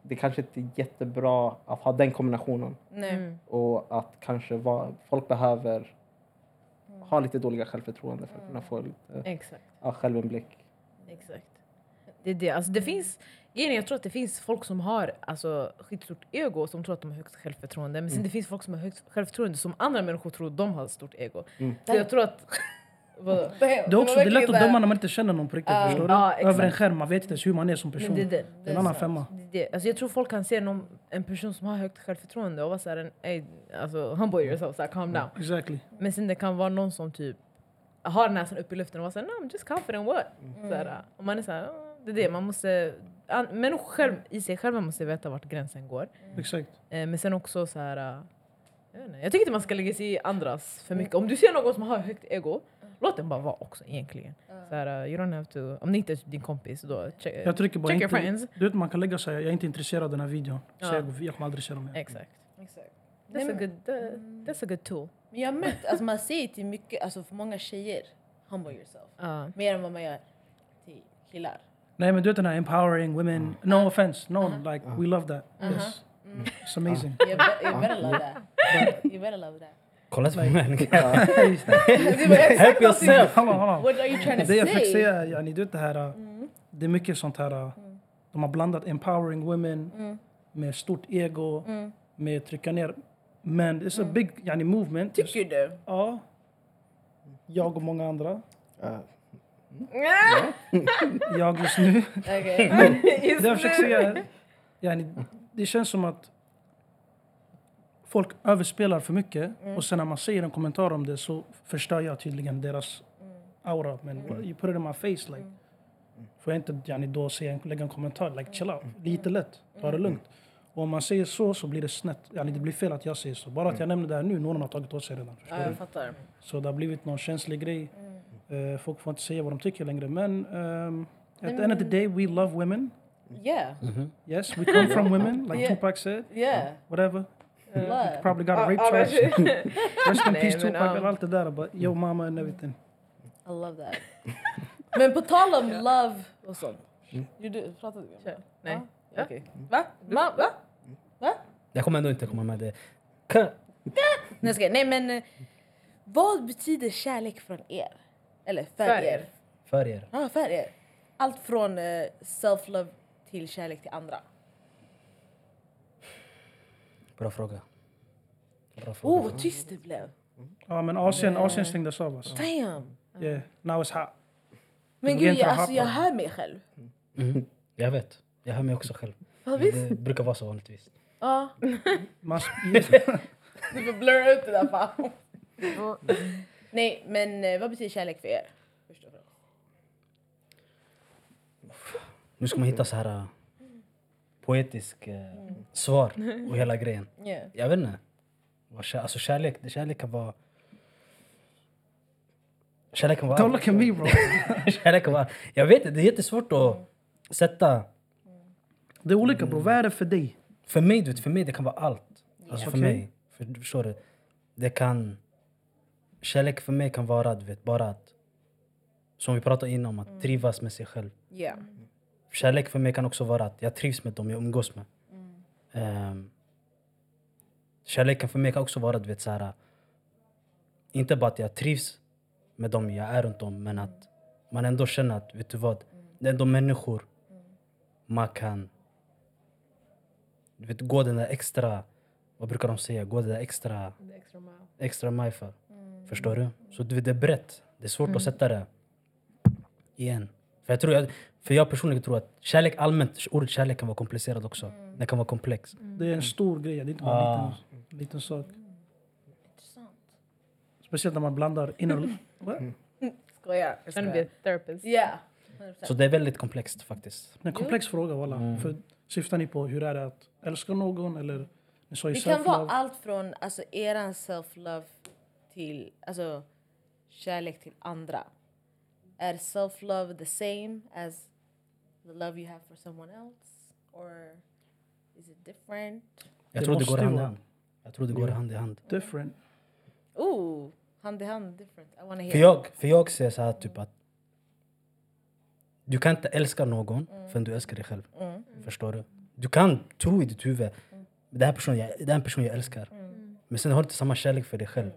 C: det kanske inte är jättebra att ha den kombinationen.
F: Nej.
A: Mm.
C: Och att kanske vara, folk behöver ha lite dåliga självförtroende för att kunna få lite
D: Exakt.
C: ja, självinblick.
D: Exakt. Det är det. Alltså, det finns, grejen är, jag tror att det finns folk som har alltså, skitstort ego som tror att de har högt självförtroende.
A: Mm.
D: Men sen det finns folk som har högt självförtroende som andra människor tror de har stort ego.
A: Mm.
D: Så jag tror att... vadå?
A: Det är, också, det är lätt att döma när man inte känner någon på riktigt. förstår du?
D: ja, exakt.
A: Över en skärm, man vet inte ens hur man är som person.
D: Men det, är det,
A: en annan femma.
D: det, är det. Alltså, jag tror folk kan se någon, en person som har högt självförtroende och vara såhär, ey, alltså, humble yourself, såhär, calm
A: Mm.
D: down.
A: Exactly.
D: Men sen det kan vara någon som typ har näsan upp i luften och vara såhär, no I'm just confident what?
F: Mm.
D: Såhär, och man är såhär, "Ah, det är det, man måste... An, människor själv, i sig själva måste veta vart gränsen går.
A: Exakt.
D: Eh, men sen också såhär, eh, jag, vet inte, jag tycker inte man ska lägga sig i andras för mycket. Om du ser någon som har högt ego, låt den bara vara också egentligen.
F: Mm.
A: Mm.
D: Såhär, eh, you don't have to, om det inte är typ din kompis då, check,
A: Jag trycker bara
D: check your
A: inte...
D: friends.
A: Du vet, man kan lägga sig, jag är inte intresserad av den här videon. Så
D: Ja.
A: jag, jag kommer aldrig köra mer.
D: Exakt. Mm.
F: Exakt.
D: That's
F: Nej,
D: a
F: men-
D: good, that, that's a good tool.
F: Men jag har märkt, alltså man säger till mycket, alltså för många tjejer, humble yourself.
D: Ja.
F: Mer än vad man gör till killar.
A: Nej men du vet den här empowering women. No offense, no.
D: Mm-hmm.
A: Like, we love that. Yes. It's amazing.
F: You be- you better love that. You better love that.
B: Kolla inte på mig.
F: Det var exakt
B: Help yourself!
A: Hold on, hold on.
F: What are you trying to
A: Det jag försökte
F: say?
A: säga är, yani, du vet det här, äh,
F: Mm.
A: det är mycket sånt här, äh, de har blandat empowering women
F: Mm.
A: med stort ego, med trycka ner Men it's a big yani, movement.
F: Mm. Tycker du?
A: Ja. Jag och många andra.
C: Eh,
A: Jag just nu.
F: Okej.
A: det jag försöker säga är, yani, det känns som att folk överspelar för mycket och sen när man säger en kommentar om det så förstör jag tydligen deras aura, men you put it in my face like. Får jag inte yani, då säga, lägga en kommentar, like chill out, lite lätt, ta det lugnt. Och om man säger så så blir det snett, yani, det blir fel att jag säger så. Bara att jag nämner det här nu, någon har tagit åt sig redan. Förstår
D: Ja,
A: du?
D: jag fattar.
A: Så det har blivit någon känslig grej. Eh, folk får inte säga vad de tycker längre. Men ehm, at the end of the day, we love women.
F: Yeah,
A: Yes, we come from women, like
F: Yeah.
A: Tupac said.
F: yeah.
A: Whatever.
F: Love.
A: Probably got a rape
D: Ja,
A: charge.
D: men-
A: Rest in
D: Nej,
A: peace
D: men,
A: Tupac
D: ja.
A: och allt det där. But yo mama and everything.
F: I love that. Men på tal om love och sånt. Gjorde- Pratade vi om det?
D: Kör. Nej.
F: Ja.
D: Ja.
F: Okej. Mm. Va? Ma, va?
B: Jag kommer ändå inte komma med det. Ka-
F: Nej, jag skojar. Nej men, eh, vad betyder kärlek från er? Eller för,
D: För
F: er?
D: er.
B: För er.
F: Ja, för er. Allt från eh, self-love till kärlek till andra.
B: Bra fråga. Bra fråga.
F: Oh, vad tyst det blev.
A: Ja men Asien, Asien stängdes av oss.
F: Damn.
A: Yeah, now it's hot.
F: Men
A: Det går
F: gud,
A: inte
F: jag,
A: att
F: alltså, jag
A: happa.
F: hör mig själv.
B: Mhm. Jag vet. Jag hör mig också själv.
F: Ja, visst.
B: Det brukar vara så vanligtvis.
F: Ja.
A: Man,
F: Du får blurra ut det där fan. Nej, men eh, vad betyder kärlek för er? Förstår du?
B: Nu ska man hitta så här eh, poetisk eh, svar och hela grejen.
F: Yeah.
B: Jag vet inte. Vad kär, alltså kärlek, kärlek kan vara... Kärlek kan vara
A: don't
B: allt.
A: look at me bro.
B: Kärlek kan vara allt. Jag vet inte, det är jättesvårt att sätta...
A: Det är olika bro, vad är det för dig?
B: För mig, du vet, för mig det kan vara allt. Alltså för
A: Okej.
B: mig. För, du förstår du? Det kan... Kärlek för mig kan vara, du vet, bara att... Som vi pratade innan om, att trivas med sig själv.
F: Yeah.
B: Kärlek för mig kan också vara att jag trivs med dem jag umgås med. Ehm, kärleken för mig kan också vara, du vet, så här, inte bara att jag trivs med dem jag är runt om, men att man ändå känner att, vet du vad, det är ändå människor man kan du vet, gå den där extra, vad brukar de säga, gå den där extra, extra mile Mm. för. Förstår du? Så du vet, det är brett. Det är svårt att sätta det igen. För jag, tror, jag- för jag personligen tror att kärlek allmänt, ordet kärlek kan vara komplicerat också. Det kan vara komplex.
F: Mm.
A: Det är en stor grej, det är inte bara en
B: Ah.
A: liten, liten sak. Speciellt när man blandar inner... What?
F: Mm. Skojar.
D: Trying to be a therapist.
F: Yeah.
B: Så det är väldigt komplext faktiskt.
A: En komplex fråga walla. För syftar ni på hur är det att älska någon eller ni sa ju
F: Det kan vara
A: self-love?
F: allt från alltså, eran self-love till alltså, kärlek till andra. Är self-love the same as the love you have for someone else? Or is it different?
B: Jag
A: Det
B: tror det går
A: måste
B: hand i
A: vara.
B: hand. Jag tror det går hand i hand.
A: Different.
F: Ooh, hand i hand different. I wanna hear.
B: För jag, för jag ser så här typ att du kan inte älska någon förrän du älskar dig själv.
F: Mm.
B: Förstår du? Du kan tro i ditt huvud, den här personen jag, den här personen jag älskar.
F: Mm.
B: Men sen har du inte samma kärlek för dig själv.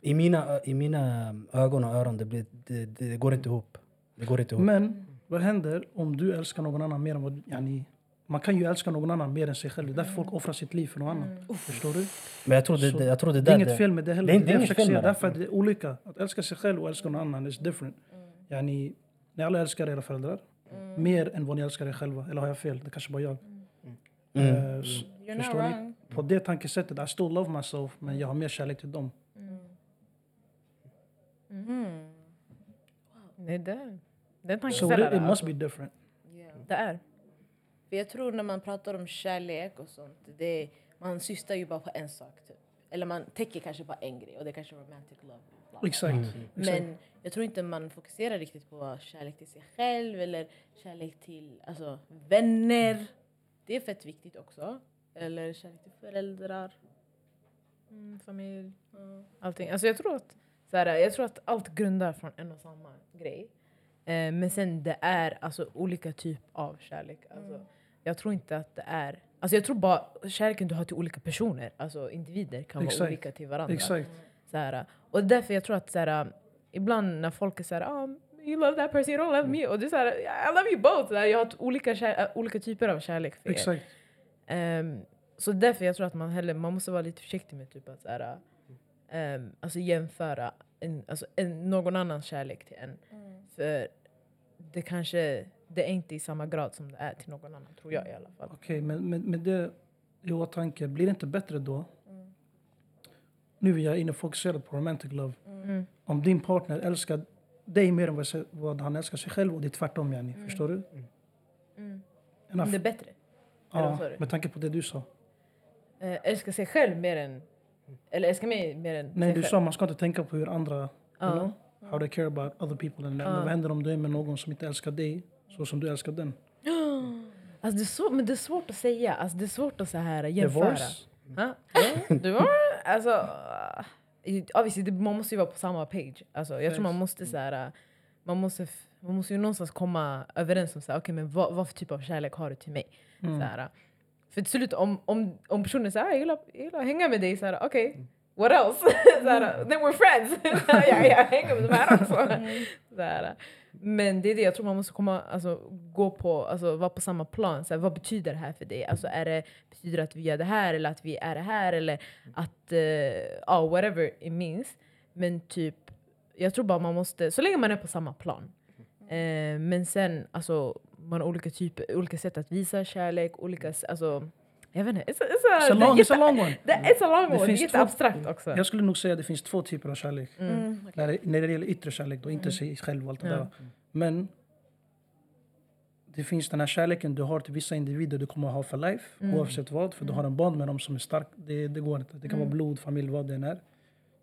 B: I mina, ö- I mina ögon och öron, det, blir, det, det, det går inte ihop. Det går inte ihop.
A: Men vad händer om du älskar någon annan mer än vad... Yani, man kan ju älska någon annan mer än sig själv. Det är därför folk offrar sitt liv för någon annan. Förstår du?
B: Men jag tror Mm. det,
A: Så
B: det, jag tror det,
A: Det är
B: där,
A: inget fel med det heller.
B: Det är, det är
A: jag
B: inget
A: försöker
B: fel
A: säga,
B: med det.
A: därför att det är olika. Att älska sig själv och älska någon annan is different.
B: Mm.
A: Yani, ni alla älskar era föräldrar. Mer än vad ni älskar er själva. Eller har jag fel? Det kanske bara jag.
B: Mm.
A: Eh, s-
F: You're not
A: förstår ni?
F: wrong.
A: På det tankesättet, I still love myself, men jag har mer kärlek till dem.
F: Mm.
D: Nej, det är... Det är en
A: So it,
D: tankeställare.
A: it must
D: alltså.
A: be different.
F: Yeah.
D: Det är.
F: Mm. För jag tror när man pratar om kärlek och sånt, det är, man syftar ju bara på en sak typ. Eller man täcker kanske bara en grej och det är kanske romantic love. bla, bla.
A: Exakt.
B: Mm.
A: Exakt.
F: Men jag tror inte man fokuserar riktigt på kärlek till sig själv eller kärlek till alltså, vänner. Det är fett viktigt också. Eller kärlek till föräldrar.
D: Mm, familj, allting. Alltså jag, tror att, så här, jag tror att allt grundar från en och samma grej. Eh, men sen det är alltså olika typ av kärlek. Alltså,
A: Mm.
D: Jag tror inte att det är... Alltså jag tror bara kärleken du har till olika personer, alltså individer, kan vara
A: Exakt.
D: olika till varandra.
A: Exakt.
D: Så här, och det är därför jag tror att så här, ibland när folk är så här, "Ah, you love that person, you don't love me. Och det är så här, I love you both. Så här, jag har ett olika, kär, äh, olika typer av kärlek för er.
A: Exakt.
D: Ehm, så därför jag tror att man, heller, man måste vara lite försiktig med typ att så här, ehm, alltså jämföra en, alltså en, någon annans kärlek till en.
F: Mm.
D: För det kanske det är inte i samma grad som det är till någon annan, tror jag i alla fall.
A: Okej, men med, med det i åtanke, blir det inte bättre då?
F: Mm.
A: Mm. Nu är jag inne fokuserad på romantic love. Om din partner älskar dig mer än vad se- vad han älskar sig själv och det är tvärtom yani. Förstår du? Enough.
D: Mm. Det är bättre. eller vad
A: ja,
D: sa du?
A: med tanke på det du sa.
D: Eh, älska sig själv mer än... Eller älska mig mer än
A: Nej,
D: sig
A: du
D: själv. Mm.
A: sa man ska inte tänka på hur andra,
D: Ja.
A: you know, how they care about other people. And that. Men vad händer om du är med någon som inte älskar dig så som du älskar den?
D: Alltså det är så, men det är svårt att säga. Alltså det är svårt att så här jämföra.
A: Divorce?
D: Ja. Du var... Alltså... eh, Obviously, det- man måste ju vara på samma page. Alltså, jag tror man måste så här... eh, Man måste, f- man måste ju någonstans komma överens om så här, okay, men vad, vad för typ av kärlek har du till mig.
A: Mm.
D: Så här, eh, för till slut, om, om, om personen säger ah, jag, gillar, jag gillar att hänga med dig, så här, okej, what else? så här, then we're friends. Så här, jag, jag hänger med de här också. Så här, äh, men det är det, jag tror man måste komma, alltså, gå på, alltså, vara på samma plan. Så här, vad betyder det här för dig? Alltså, är det, betyder det att vi gör det här eller att vi är det här? Eller att, eh, ja, whatever it means. Men typ, jag tror bara man måste, så länge man är på samma plan.
F: Mm.
D: Eh, men sen, alltså, man har olika, typer, olika sätt att visa kärlek, olika, s- alltså, jag vet inte. It's, it's
A: It's
D: a,
A: a long,
D: det är
A: it's a long one.
D: det är så långt
A: Det
D: och det är
A: finns
D: jätteabstrakt också. Mm.
A: Jag skulle nog säga att det finns två typer av kärlek.
F: Mm.
A: När, det, när det gäller yttre kärlek, då inte sig själv och allt det där. Men det finns den här kärleken du har till vissa individer du kommer ha för life, oavsett vad. För du har en band med dem som är stark. Det, det går inte. Det kan vara blod, familj, vad det än är.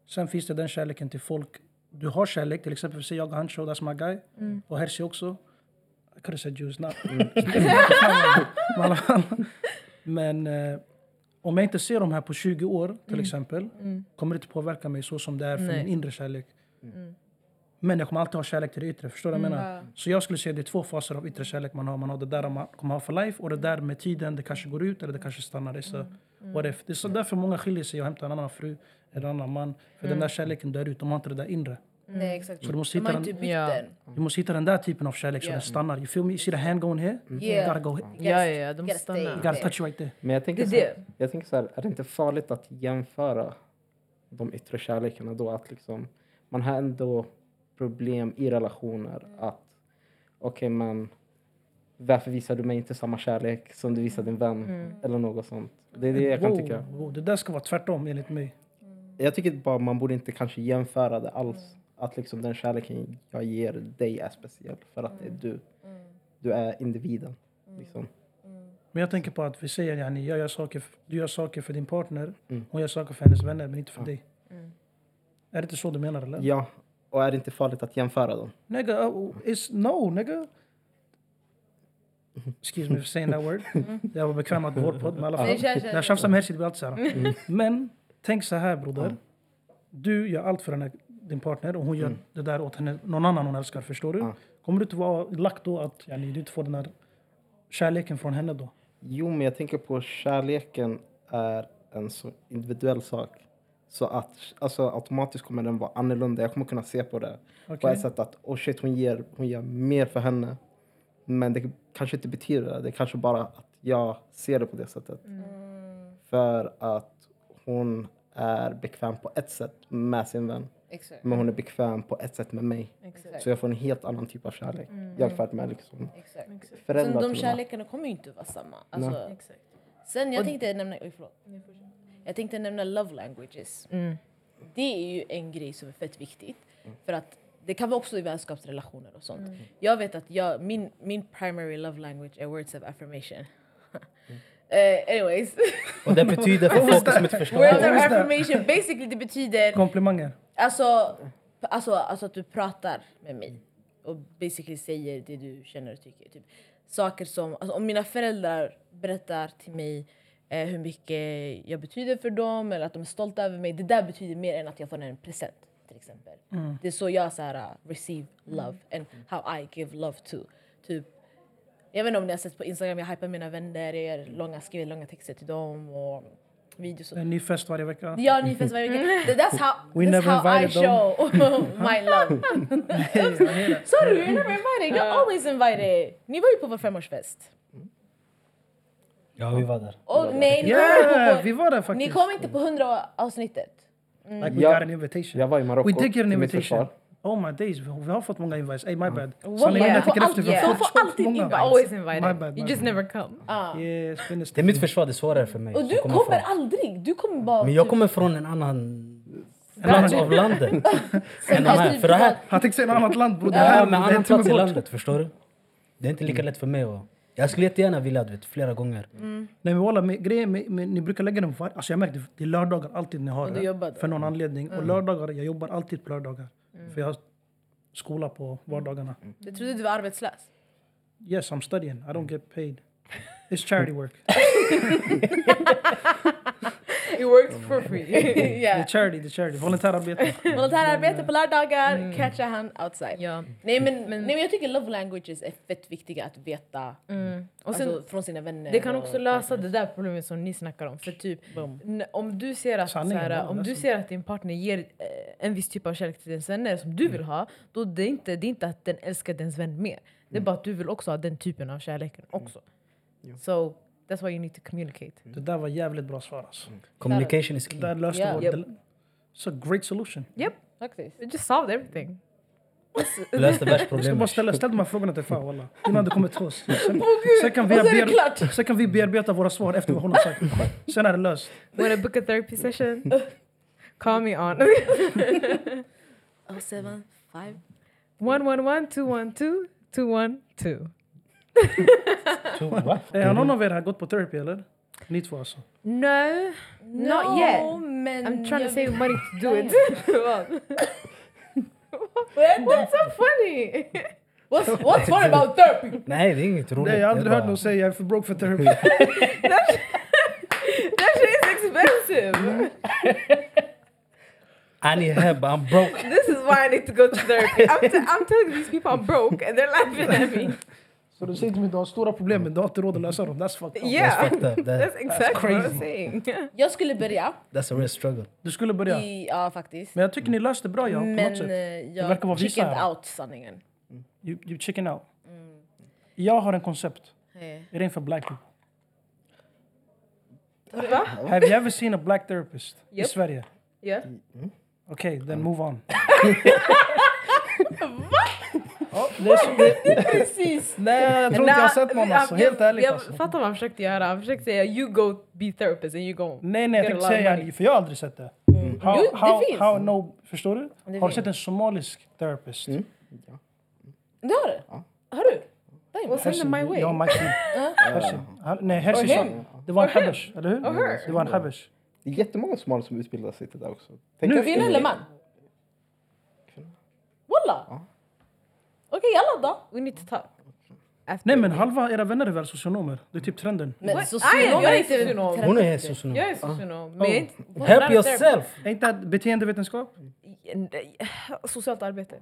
A: Sen finns det den kärleken till folk. Du har kärlek, till exempel, säg jag och Hancho, that's my guy. Och Hershey också. I could have said Jews now. Men i alla fall. Men eh, om jag inte ser de här på 20 år, till exempel, kommer det inte påverka mig så som det är för min inre kärlek. Men jag kommer alltid ha kärlek till det yttre. Förstår du vad jag menar? Så jag skulle säga det är två faser av yttre kärlek man har. Man har det där man kommer ha för life och det där med tiden, det kanske går ut eller det kanske stannar. Det är, så, what if. Det är så därför många skiljer sig och hämtar en annan fru, en annan man. För den där kärleken dör ut, de har inte det där inre.
F: Nej exakt.
A: Så du måste
F: De har
A: hitta den,
F: inte bytt
D: Ja.
F: den.
A: du måste hitta den där typen av kärlek så
F: Yeah.
A: den stannar. You feel me? You see the hand going here? You
F: Yeah.
A: gotta go here.
D: Ja, ja, ja, de
F: Gotta stay
D: stannar.
A: You
F: there.
A: gotta touch right there.
C: Men jag
D: Det
C: tänker,
D: är
C: så här,
D: det.
C: jag tänker så här, är det inte farligt att jämföra de yttre kärlekarna då? Att liksom, man har ändå problem i relationer. Att okej, men varför visar du mig inte samma kärlek som du visar din vän?
D: Mm.
C: Eller något sånt. Det är det jag kan
A: Wow,
C: tycka.
A: wow, det där ska vara tvärtom enligt mig.
C: Jag tycker bara man borde inte kanske jämföra det alls.
D: Mm.
C: Att liksom den kärleken jag ger dig är speciell för att det
D: Mm.
C: är du. Du är individen. Liksom.
A: Men jag tänker på att vi säger yani, jag gör saker, f- du gör saker för din partner,
C: Mm.
A: hon gör saker för hennes vänner men inte för dig. Är det inte så du menar eller?
D: Mm.
C: Ja, och är det inte farligt att jämföra dem?
A: Nigga, oh, it's no nigga. Excuse me for saying that word. Jag var bekväm att vår podd, men i alla fall.
F: Nej, Mm-hmm. kör, Mm. kör,
A: När jag tjafsar med Hershey, det blir alltid så här. Men tänk så här broder. Du gör allt för den här, din partner och hon gör
F: Mm.
A: det där åt henne, någon annan hon älskar, förstår du?
C: Ja.
A: Kommer du inte vara lack då att yani, du inte får den här kärleken från henne då?
C: Jo, men jag tänker på kärleken är en så individuell sak. Så att alltså, automatiskt kommer den vara annorlunda. Jag kommer kunna se på det på
A: Okej.
C: ett sätt att oh shit, hon ger, hon ger mer för henne. Men det kanske inte betyder det. Det kanske bara att jag ser det på det sättet.
F: Mm.
A: Mm.
C: För att hon är bekväm på ett sätt med sin vän.
F: Exakt.
C: Men hon
A: Mm.
C: är bekväm på ett sätt med mig.
F: Exakt.
C: Så jag får en helt annan typ av kärlek
A: Mm.
C: jämfört med liksom
F: Exakt.
D: Mm.
F: Sen
C: föräldrar.
F: de
C: till och med.
F: kärlekarna kommer ju inte vara samma. Alltså,
D: Exakt.
F: sen jag tänkte nämna, oj, förlåt. Jag tänkte nämna love languages. Det är ju en grej som är fett viktigt.
C: Mm.
F: För att det kan vara också i vänskapsrelationer och sånt. Jag vet att jag, min, min primary love language är words of affirmation.
C: Mm.
F: Eh, anyways,
B: Och det betyder för folk som inte förstår.
F: words of
A: that?
F: affirmation basically det betyder
A: Komplimanger.
F: Alltså, alltså, alltså att du pratar med mig och basically säger det du känner och tycker. Typ. Saker som, alltså, om mina föräldrar berättar till mig eh, hur mycket jag betyder för dem eller att de är stolta över mig. Det där betyder mer än att jag får en present till exempel. Det är så jag så här, uh, receive love and how I give love to. Typ, jag vet inte om ni har sett på Instagram, jag hypar mina vänner, jag gör långa, skriver långa texter till dem och videos och
A: En ny fest varje vecka.
F: Ja, ni finns varje vecka. That's how,
A: Mm. We
F: that's
A: never
F: how I
A: invited them.
F: show my love. Sorry, you're never invited. You're always invited. Ni var ju på vår femårsfest.
B: Ja, vi var där.
F: Och nej, ni, var
A: Yeah,
F: inte
A: vi var där
F: på, ni
A: faktiskt.
F: kom inte på hundra avsnittet.
A: Like we
C: Ja.
A: got an invitation.
C: Jag var i Marocko.
A: We did get an
C: till mitt
A: invitation.
C: försvar.
A: Oh my days, vi vi har fått många invites. Ey, my bad.
F: Wallah,
A: Sanningen, jag
D: de får
A: tänker efter.
D: alltid-
A: Vi har
D: de
A: fått
D: får
A: så
D: alltid
A: många.
D: inv- always
A: My
D: invited.
A: bad, my
D: you just
A: bad.
D: never come.
A: Yes, finish
B: Det är mitt försvar, det är svårare för mig.
F: Ah. Och
B: som
F: du
B: från-
F: kommer aldrig. Du kommer bara...
B: Men jag
F: typ-
B: kommer från en annan En annan av landet. än de
F: typ
B: här. För det här,
A: Han tänkte säga något annat land bror. Det
B: ja,
A: här
B: men
A: det är en timme
B: annan plats i
A: bort. Mm.
B: landet, förstår du? Det är inte lika lätt för mig att... Jag skulle jättegärna vilja, du vet, flera gånger.
A: Nej men walla, med- grejen med, med, ni brukar lägga den var... Alltså jag märkte, det är lördagar alltid ni har
D: Och du jobbar Mm. då?
A: För någon anledning. Och lördagar, jag jobbar alltid på lördagar.
D: Mm.
A: För jag har skola på vardagarna.
F: Du trodde du var arbetslös?
A: Yes, I'm studying. I don't get paid. It's charity work.
D: It works for free.
A: Det
F: yeah.
A: är charity, det är charity. Volontärarbete.
F: Volontärarbete på lördagar,
A: Mm.
F: catcha han outside.
D: ja.
F: Nej, men, nej men jag tycker love languages är fett viktiga att veta
D: Mm. Och sen,
F: alltså, från sina vänner.
D: det kan
F: och-
D: också lösa det där problemet som ni snackar om. För typ, n- om du ser att,
A: Sanningen,
D: såhär,
A: ja,
D: om du
A: nästan.
D: ser att din partner ger eh, en viss typ av kärlek till dens vänner som du vill ha, då det är inte, det är inte att den älskar dens vän mer. Det är bara att du vill också ha den typen av kärleken också. So that's why you need to communicate.
A: Det där var jävligt bra svar alltså.
B: Communication is
A: Det
B: key.
A: där löste
F: Ja.
A: vår...
D: Japp.
A: del- It's a great solution.
D: Yep,
F: Faktiskt.
D: it just solved everything.
B: Löste
A: Jag ska bara
B: världsproblemet.
A: ställa, ställ de här frågorna till Farao walla. Innan det kommer till oss. Sen, sen, kan vi
F: Och så är det
A: bear-
F: klart.
A: sen kan vi bearbeta våra svar efter vad hon har sagt. Sen är det löst. Eh,
D: Wanna book a therapy session? Call me on
F: Oh, seven, five.
D: 111 212 212.
B: Så, va?
A: Eh, Har någon av er här gått på therapy eller? Ni två alltså.
D: No, not yet.
F: Men
D: I'm trying to
F: jag-
D: save money to do it. What's so funny?
F: What's, what's fun about therapy?
B: Nej, det är inget roligt.
A: Nej, jag har aldrig
B: Det är
A: hört någon
B: bara-
A: säga jag är för broke för therapy.
D: That shit is expensive.
B: I need help, but I'm broke.
D: This is why I need to go to therapy. I'm, t- I'm telling these people I'm broke and they're laughing at me.
A: Så du säger till mig att du har stora problem men du har inte råd att lösa dem. That's fucked up.
B: Oh, That's
D: Yeah,
B: fucked up. That,
D: that's exactly what I'm saying.
F: Jag skulle börja
B: that's a real struggle.
A: Du skulle börja.
F: i, ja faktiskt.
A: Men jag tycker ni löste det bra ja, på något
F: Men eh,
A: sätt.
F: jag
A: verkar vara vi så
F: chickened
A: här.
F: out Mm. sanningen.
A: You, you chicken out. Jag har en koncept. Är det inför black people?
D: Va?
A: Have you ever seen a black therapist i
D: Yep.
A: Sverige?
D: Yeah.
A: Okej, okay, then move on. Va? det är så, det,
D: Precis.
A: nej, jag tror inte jag har sett någon alltså. Helt ärligt
D: jag,
A: alltså.
D: Jag fattar vad han försökte göra. Han försökte säga you go be therapist and you go...
A: Nej, nej, jag
D: get a
A: tänkte
D: lot of
A: säga
D: money."
A: för jag har aldrig sett det. How,
F: Jo, det
A: how,
F: finns.
A: how, no, förstår du? har du
F: finns.
A: sett en somalisk therapist?
F: Det har du? Har du? Damn.
D: Well, send them my way.
A: Ja, my kid. Hersin. Han- Nej, Hersin sa...
F: him.
A: Det var en habesh, eller hur?
D: her.
A: Det var en habesh.
C: Det är jättemånga somalier som utbildar sig till det där också. Tänk
A: Nu-
C: efter
F: Kvinna
C: hur-
F: eller man? Walla? Okej, jalla då.
D: We need to talk. After.
A: Nej, men halva era vänner är väl socionomer? Det är typ trenden.
F: Men
D: What? Jag
F: socionomer är
D: är
F: inte
D: socionom.
F: terapeut.
B: Hon är socionom.
D: Jag är socionom. Men jag är inte...
B: Uh, oh. Help yourself!
A: Är inte det beteendevetenskap?
D: Socialt arbete.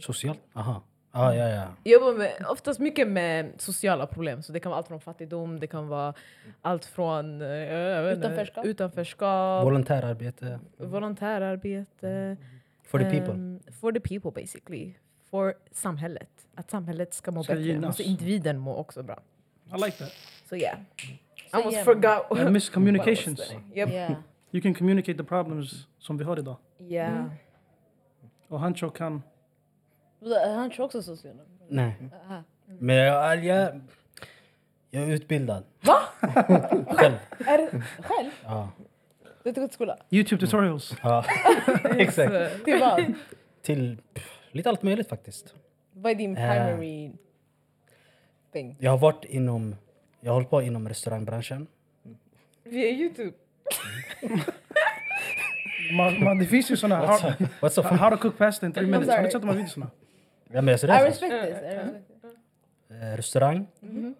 B: Socialt? Aha. Ah, ja, ja.
D: Jag jobbar med, oftast mycket med sociala problem. Så Det kan vara allt från fattigdom, det kan vara allt från eh, jag vet inte,
F: Utanförskap.
D: utanförskap
B: Volontärarbete.
D: volontärarbete.
B: For the
D: ehm,
B: people.
D: for the people basically. För samhället. Att samhället ska må
A: Ska
D: bättre.
A: gynnas.
D: Måste individen må också bra.
A: I like that.
D: So yeah. I almost
F: yeah.
D: forgot.
A: And
D: what
A: miscommunications.
D: I was saying. Yep.
F: Yeah.
A: You can communicate the problems som vi har idag.
D: Yeah.
A: Och Hancho kan...
F: Bla- eh, Han tror också socionom.
B: Nej.
F: Ah,
B: Men jag, jag, jag är utbildad.
F: Va?
B: Själv.
F: Är du själv?
B: Ja.
F: Du har inte gått till skola?
A: Youtube tutorials.
B: ja. Exakt.
D: Så,
F: Till vad?
B: Till pff, lite allt möjligt faktiskt.
F: Vad är din primary thing?
B: Jag har varit inom... Jag har hållit på inom restaurangbranschen.
D: via Youtube.
A: Man, man, det finns ju såna... How,
B: What's so funny?
A: how to cook pasta in three minutes. Har ni sett de här videorna?
B: Ja, men jag är
F: I
B: seriös.
F: respect
D: Uh,
F: this. I respect this.
B: Eh, Restaurang.
D: Mm-hmm.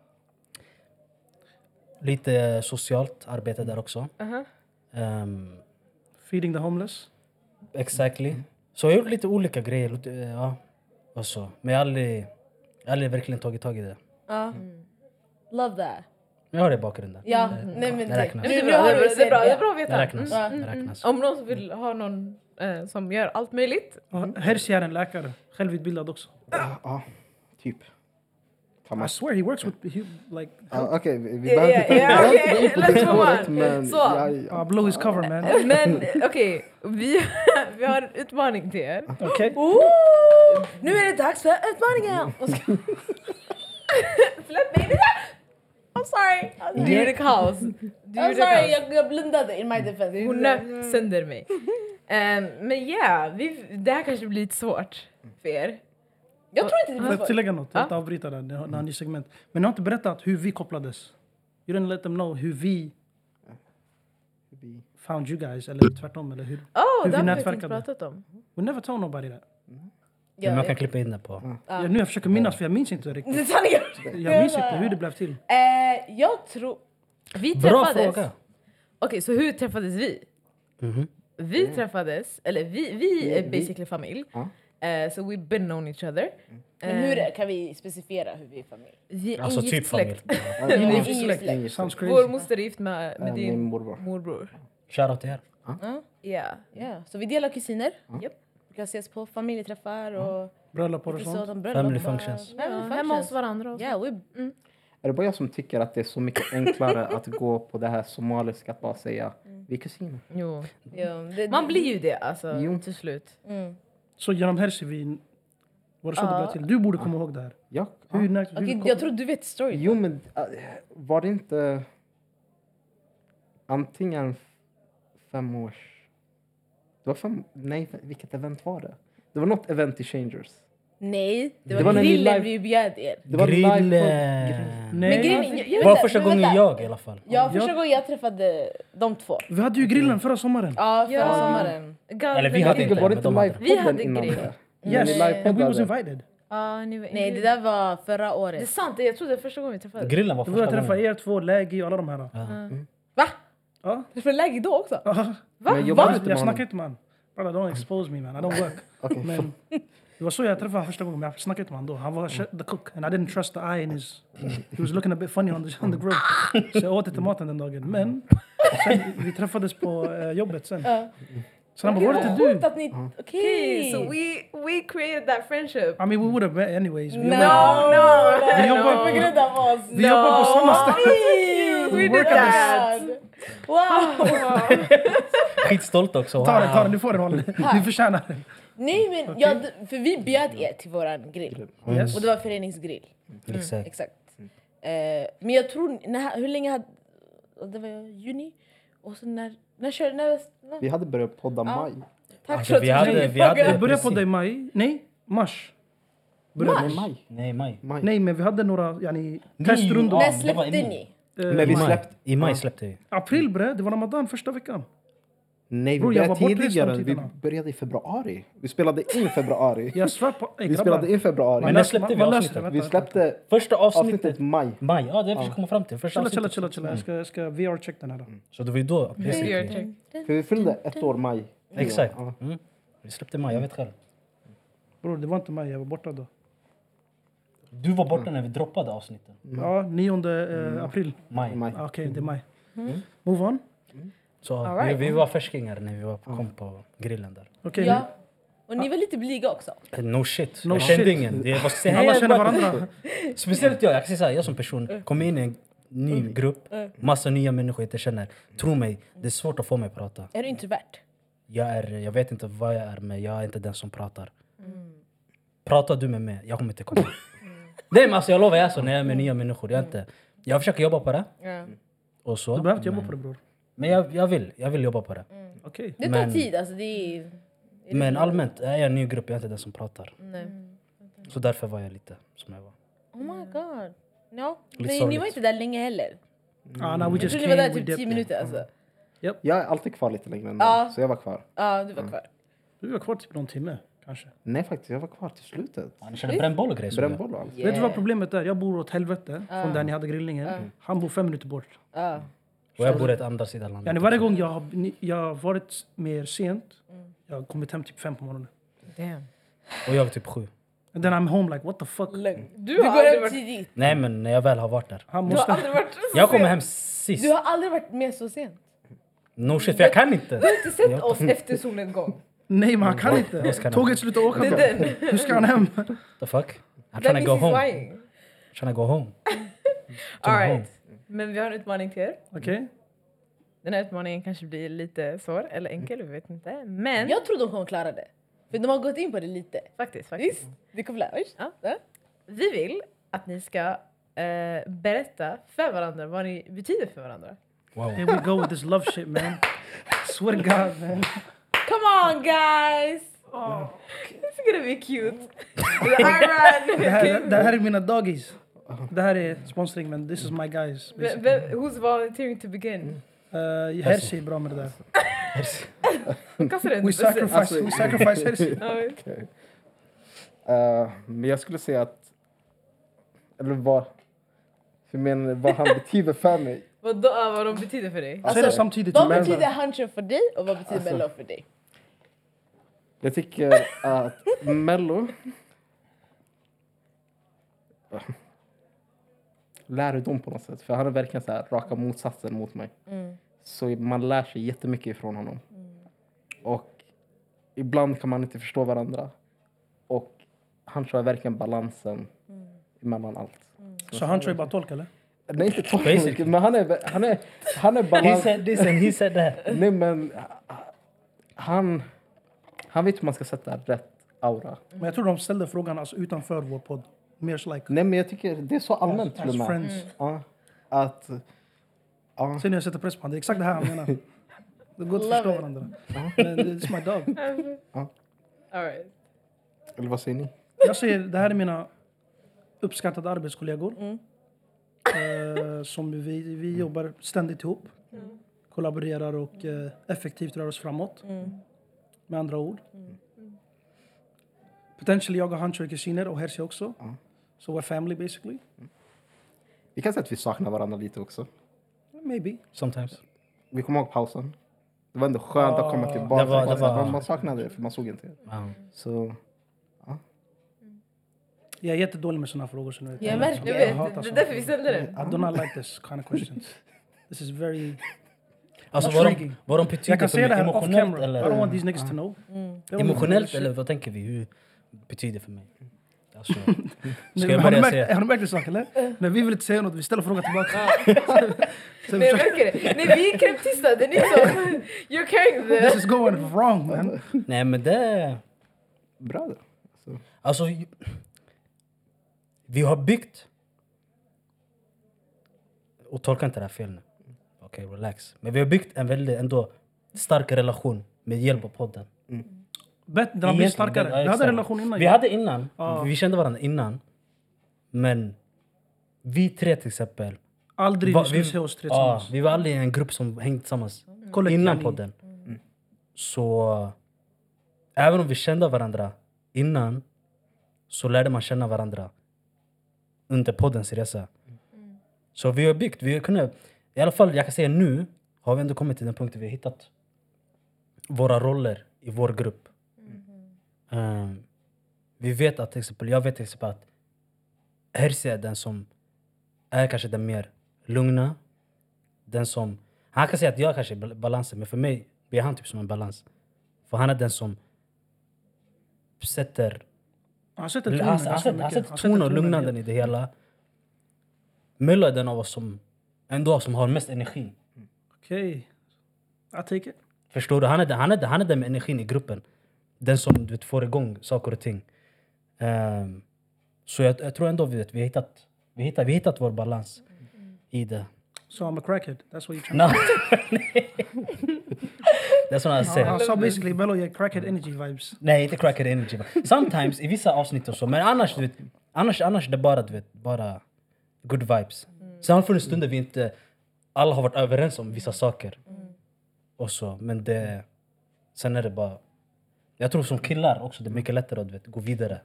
B: Lite socialt arbete där också.
D: Aha.
B: Ehm,
A: Feeding the homeless.
B: Exactly. Så jag har gjort lite olika grejer. och det- Ja. Och så. Men jag har aldrig, jag har aldrig verkligen tagit tag i det.
F: Ja. Ah. Love that.
B: Jag har det i bakgrunden.
F: Ja, nej men
B: det
F: tack.
B: räknas.
D: Det
F: Nu-
D: är
F: nu
D: bra,
F: har
D: det
F: du
D: är bra, det är bra, det är
F: sett
D: bra
B: Det
D: att veta. Mm.
B: räknas. Det räknas.
F: Mm.
D: Om någon vill ha någon eh, som gör allt möjligt.
A: Och Hersi är en läkare. Självutbildad också.
C: Ja, ja, typ. Kan man...
A: I swear he works with... He, like,
C: Ja, Okej, vi, vi
D: Ja,
C: behöver
D: ja,
C: inte
D: ja,
C: behöver inte
D: okej,
C: gå in på
D: let's
C: det
D: move
C: spåret,
D: on.
C: men...
D: Så.
C: Ja, ja.
A: I'll uh, blow his cover man.
D: Men okej, vi, vi har en utmaning till
B: Ah.
D: er.
A: Okej.
F: Ooh, nu är det dags för utmaningen! Släpp mig! I'm sorry! I'm
D: Du gjorde kaos. Du
F: I'm
D: gjorde
F: sorry,
D: kaos. Mm.
F: jag, jag blundade in my defense.
D: Hon nöp sönder mig. Ehm, men ja, vi, det här kanske blir lite svårt för er.
F: Jag tror inte det
A: Får
F: blir
A: jag
F: svårt.
A: tillägga något? Jag
D: Ja.
A: vill inte avbryta där, ni har- ni har en ny segment. Men ni har inte berättat hur vi kopplades. You didn't let them know hur vi
C: Vi-
A: found you guys, eller tvärtom. Eller hur?
D: Åh,
A: Hur
D: det
A: vi
D: har vi faktiskt inte
A: nätverkade.
D: pratat om.
A: We never tell nobody that.
B: Men
F: Ja,
B: man kan
F: det-
B: klippa in det på.
A: Ja. nu jag försöker minnas, för jag minns inte riktigt.
F: det är sanningen.
A: Jag minns inte hur det blev till.
F: Eh, jag tror...
D: Vi
B: Bra
D: träffades.
B: fråga!
D: Okej, så hur träffades vi?
B: Mhm.
D: Vi träffades, eller vi, vi är
C: vi-
D: basically familj.
C: Ja.
D: Eh, so we've been known each other. Eh,
F: Men hur kan vi specificera hur vi är familj?
D: Vi är
B: Mm. Alltså
D: ingift
B: typ
D: släkt.
B: familj.
C: Ja,
F: Ni är
C: ja,
F: ingen släkt.
C: ingen
A: Sounds
C: släkt.
D: Vår
A: crazy.
D: moster är gift med, med
C: Eh,
D: din
C: Min morbror.
D: morbror.
B: Shoutout till er.
F: Mm.
D: Ja.
F: Ja, så vi delar kusiner.
C: Ja.
F: Japp. Vi kan ses på familjeträffar och
A: Bröllop och
F: lite
A: sånt.
F: sådant. bröllop.
B: Family functions.
F: Family
D: Ja, hemma hos
F: functions.
D: varandra. Och så.
F: Ja, we...
C: Är det bara jag som tycker att det är så mycket enklare att gå på det här somaliska att bara säga
D: Mm.
C: vi är kusiner?
D: Jo.
F: ja, det,
D: Man blir ju det alltså,
C: Jo.
D: till slut.
F: Mm.
A: Så genom Hersi, vi... Var det så det
F: Ja.
A: blev till? Du borde komma ihåg det här.
C: Ja. ja.
A: Hur, när, hur
F: Okej,
A: kom-
F: jag tror du vet storyn.
C: Jo, men äh, var det inte antingen femårs... Det var fem... Nej, vilket event var det? Det var något event i Changers.
F: Nej, det var,
C: Det var när ni
F: grillen
C: live-
F: vi bjöd er.
C: Det var
B: Grill...
C: live-
B: eh,
F: Men
A: Nej.
F: grejen, jag, jag,
B: Det var första gången
F: vänta.
B: jag i alla fall.
F: Ja, första gången jag träffade de två.
A: Vi hade ju grillen förra sommaren.
F: Ja, förra
D: Ja.
F: sommaren.
D: Gal-
B: Eller vi
D: men-
B: hade
C: Det
B: inte,
C: var
B: men
C: inte
B: de hade.
D: Vi
C: livepodden
D: hade
C: innan
D: grill.
C: det.
F: Mm.
A: Yes,
C: Ni livepoddade.
A: and we was invited.
D: Ja, ni var
F: Nej, det där var förra
D: Det är
F: året.
D: sant, jag trodde det var första gången vi träffades.
B: Grillen var
A: Då började
B: första
A: jag träffa
B: gången.
A: er två, Lägi och alla de här.
F: Va?
A: Ja.
F: Det var läge då också?
D: Va?
C: Men jag
D: Va?
C: var inte
A: Jag
C: med
A: snackar
C: honom.
A: inte man. Brother don't expose me man, I don't work.
C: Okej.
A: Men det var så jag träffade honom första gången, men jag snackade inte med honom då. Han
C: Mm.
A: var the cook and I didn't trust the eye in his... He was looking a bit funny on the, on the grill. Så jag åt inte maten den dagen. Men sen, vi träffades på eh, jobbet sen. Sen han bara, var det inte
F: Sjukt
A: du?
F: att ni...
D: Okay,
F: Okej.
D: so we, we created that friendship.
A: I mean we would have met anyways. Vi,
F: No,
A: jobbar-
F: no, no.
A: Vi jobbar-
F: På grund av oss.
A: vi jobbar på samma ställe.
D: We
A: Work
D: did
A: at
D: that!
F: Wow!
B: Skitstolt också.
A: Ta den, ta den,
B: Wow.
A: du får den Holly. Du förtjänar den.
F: Nej men, jag, för vi bjöd er till våran grill.
C: Mm.
A: Yes. Mm.
F: Och det var föreningsgrill.
B: Exakt.
F: Exakt. Eh, men jag tror, när, hur länge hade... Det var juni? Och så när... När körde... När, när,
C: Vi hade börjat podda maj.
F: tack
B: Alltså, vi hade, vi
A: Jag
B: hade
A: började på
B: precis-
A: dig i maj. Nej, mars.
C: Nej, maj.
B: Nej, maj.
C: maj.
A: Nej, men vi hade några yani,
B: Ja,
A: testrundor.
F: När
B: det var i
F: släppte
B: maj.
F: ni?
A: Eh,
C: Men vi
B: I maj.
C: släppte...
B: I maj släppte vi.
A: April bre, det var ramadan första veckan.
C: Nej, vi
A: Bror, jag
C: började
A: var bortrest
C: tidigare.
A: de
C: Vi
A: tiderna.
C: började i februari. Vi spelade in februari.
A: Jag svär på... Ey,
C: Vi
A: grabbar.
C: spelade in februari.
B: Men när släppte vi
A: Man- man löser
B: avsnittet?
A: det,
C: Vi
A: vänta.
C: släppte
B: Första
C: avsnittet
B: avsnittet.
C: maj.
B: Maj, ja det är det vi ska komma fram till. Första
A: Chilla, chilla,
B: avsnittet.
A: chilla,
C: Mm.
A: chilla. Jag ska, jag ska VR-check den här. då.
B: Så det var ju då. basically.
D: Check.
C: För vi fyllde ett år maj.
B: Exakt.
C: Ja.
B: Mm. Vi släppte i maj, jag vet själv.
A: Bror, det var inte mig. Jag var borta då.
B: Du var borta när vi droppade avsnitten.
C: Mm.
A: Ja, 9 eh, april.
B: Maj.
C: Maj.
A: Ah, Okej, det är maj.
C: Mm.
A: Move on.
B: Så
D: Alright.
B: vi, vi var färskingar när vi var, kom på grillen där.
A: Okej,
F: Ja. Och ni var lite blyga också.
B: No shit.
A: No
B: jag kände
A: shit.
B: ingen. Det, vad ska
A: nu-
B: jag
A: alla
B: säga?
A: känner varandra.
B: Speciellt jag, jag kan säga så här, jag som
F: Mm.
B: person, kommer in i en ny grupp, massa nya människor jag inte känner. Tro mig, det är svårt att få mig att prata.
F: Är du introvert?
B: Jag, är, jag vet inte vad jag är med, jag är inte den som pratar.
F: Mm.
B: Pratar du med mig, jag kommer inte komma. Nej men alltså jag lovar, jag är så när jag är med nya människor. Jag, är
F: Mm.
B: inte, jag försöker jobba på det. Och så.
A: Du behöver inte jobba
B: men-
A: på det bror.
B: Men jag, jag, vill, jag vill jobba på det.
A: Okej.
F: Det tar
B: Men-
F: tid alltså. Det Mm. är...
B: Men allmänt, är jag en ny grupp, jag är inte den som pratar. Mm.
F: Nej.
B: Så därför var jag lite som jag var.
F: Oh my god. No.
B: Lite
F: Men ni var
B: sorgligt.
F: inte där länge heller.
A: Ah, no, we
F: Jag
A: just
F: tror ni var där
A: came, we
F: typ 10
A: dipped.
F: minuter alltså.
C: Jag är alltid kvar lite längre än
F: Ja.
C: dem, så jag var kvar.
F: Ja, du var kvar.
A: Du var kvar typ någon timme, kanske.
C: Nej faktiskt, jag var kvar till slutet.
B: Ja, Ni körde brännboll och grejer. såg jag.
C: Brännboll och allt.
A: Vet
D: Eh.
A: du vad problemet är? Jag bor åt helvete från där ni hade grillningen. Han bor fem minuter bort.
F: Ja.
B: Och jag bor i ett andra sidan landet.
A: Yani varje gång jag har ni- jag har varit mer sent,
D: Mm.
A: jag har kommit hem typ fem på morgonen.
D: Damn.
B: Och jag är typ sju.
A: And then I'm home like what the fuck.
D: Du,
F: Du
D: har
F: går
D: aldrig
F: hem
D: varit...
F: tidigt.
B: Nej
D: Mm.
B: men när jag väl har varit där.
A: Han
D: Du har
A: måste...
D: aldrig varit...
B: Jag kommer hem sist.
F: Du har aldrig varit med så sent.
B: No shit, för jag kan inte.
D: Du har inte sett oss efter solnedgång.
A: Nej men han kan
B: Jag ska
A: inte.
B: hem.
A: Tåget slutar åka.
D: Det är den.
A: Hur ska han hem?
B: The fuck? I'm
D: That
B: trying to go
D: means he's
B: home.
D: lying.
B: Trying to go home.
D: Alright. Men vi har en utmaning till er.
A: Okej?
D: Den här utmaningen kanske blir lite svår eller enkel, vi vet inte. Men
F: Jag tror de kommer klara det. För de har gått in på det lite.
D: faktiskt, faktiskt.
F: Visst? Det kommer lära oss.
D: Ja. Vi vill att ni ska eh, berätta för varandra vad ni betyder för varandra.
B: Wow.
A: Here we go with this love shit man. Swear to God man.
F: Come on guys! This is gonna be cute. Alright!
A: Det här, det här är mina doggies. Det här är sponsring, men this is my guys.
D: Ve- ve- Who's volunteering to begin?
A: Uh, Hershey är bra med det där.
D: Alltså- Kastar den
A: We
D: inte.
A: sacrifice, we sacrifice Hershey.
D: Typ- Ja,
C: Okej. Eh, men jag skulle säga att... Eller vad... Hur menar ni? Vad han betyder för mig?
D: Vadå, ah, vad de betyder för
B: Alltså-
D: dig?
A: Säg det samtidigt.
F: Vad
A: men-
F: betyder huncho för dig och vad betyder mello för dig?
C: Jag tycker att Mello... Lärdom på något sätt. För han är verkligen så här, raka motsatsen mot mig. Så man lär sig jättemycket ifrån honom. Och ibland kan man inte förstå varandra. Och han kör verkligen balansen mellan allt.
A: Så han tror jag bara tolk, eller?
C: Nej, inte
B: Basically.
C: tolk, men han är, han är, han är
B: He
C: balans...
B: said this and he said that.
C: Nej, men han, han vet hur man ska sätta rätt aura.
A: Men jag tror de ställde frågan alltså, utanför vår podd. Mer
D: Mm.
A: like,
C: Nej, men jag tycker det är så allmänt till och
A: as
C: med. Mm.
A: friends.
C: Ja, att... Ja,
A: Sen när jag sätter press på honom, det är exakt det här han menar. Det går inte
F: Love
A: att förstå
F: it.
A: varandra. Men it's my dog.
D: Alright.
C: eller vad säger ni?
A: Jag säger, det här är mina uppskattade arbetskollegor.
D: Mm.
A: Eh, som vi, vi jobbar ständigt ihop.
D: Mm.
A: Kollaborerar och eh, effektivt rör oss framåt.
D: Mm.
A: Med andra ord. Potentially jag och Hancho är kusiner och Hershey också. So we're family basically.
C: Vi kan säga att vi saknar varandra lite också.
A: Maybe.
B: Sometimes.
C: Vi kommer ihåg pausen. Det var ändå skönt att komma tillbaka.
B: Det var- det var-
C: Man, man saknade det, för man såg inte det.
B: Wow.
C: Så,
A: Jag är jättedålig med såna här frågor. Så ni vet.
D: Jag märker
A: Jag hatar
D: det. Det är
A: såna
D: därför vi ställde den.
A: I do not like this kind of questions. This is very...
B: Alltså
A: That's
B: vad de,
A: tricky.
B: vad de
A: Jag
B: betyder
A: kan
B: för
A: säga det
B: mig
A: här off
B: emotionellt
A: camera. I don't
B: eller...
A: want these niggas to know.
D: Mm.
A: They don't
B: Emotionellt
A: know
B: eller vad tänker vi? Hur betyder för mig? Alltså,
A: shit.
B: ska jag
A: Har du
B: börja
A: märkt-
B: säga?
A: har du märkt en sak eller? När vi vill inte säga något, vi ställer frågan tillbaka. Sen
D: Nej, jag
A: försöker-
D: märker det. Nej, vi är kräftista. Det är ni som... You're carrying
A: This
D: the...
A: is going wrong man.
B: Nej men det...
C: bra då. Så,
B: Alltså... Vi har byggt... Och tolka inte det här fel nu. Okej, relax. Men vi har byggt en väldigt ändå stark relation med hjälp av podden.
A: Bet, den har blivit
B: Egentligen,
A: starkare.
B: ja,
A: Vi hade
B: exakt.
A: en relation innan.
B: Vi
A: ju.
B: hade innan.
A: Ja.
B: Vi kände varandra innan. Men vi tre till exempel.
A: Aldrig
B: var-
A: vi skulle se oss tre
B: ja,
A: tillsammans.
B: vi var aldrig en grupp som hängde tillsammans.
A: Kollektiv.
B: Innan podden. Så även om vi kände varandra innan så lärde man känna varandra under poddens resa. Så vi har byggt, vi har kunnat, i alla fall jag kan säga nu har vi ändå kommit till den punkten vi har hittat våra roller i vår grupp. Ehm, vi vet att till exempel, jag vet till exempel att Herzi är den som är kanske den mer lugna. Den som, han kan säga att jag kanske är bal- balansen, men för mig blir han typ som en balans. För han är den som sätter
A: Han sätter tonen
B: han, han,
A: ganska
B: sätter, han
A: mycket.
B: sätter ton och
A: tonen
B: lugnanden
A: helt.
B: i det hela. Mello är den av oss som ändå som har mest energin.
A: Okej. I take it.
B: Förstår du? Han är, den, han, är den, han är den med energin i gruppen. Den som du vet, får igång saker och ting. Ehm, så jag, jag tror ändå vi, vet, vi, har hittat, vi, hittat, vi har hittat vår balans i det.
A: So I'm a crackhead. That's what you trying
B: No. That's what I
A: to say.
B: said.
A: Han sa basically Bello ger crackhead energy vibes.
B: Nej, inte crackhead energy. Sometimes, i vissa avsnitt och så. Men annars, du vet, annars, annars det är bara, du vet, bara good vibes. Sen har det funnits stunder vi inte alla har varit överens om vissa saker. Och så, men det... Sen är det bara... Jag tror som killar också, det är mycket lättare att du vet, gå vidare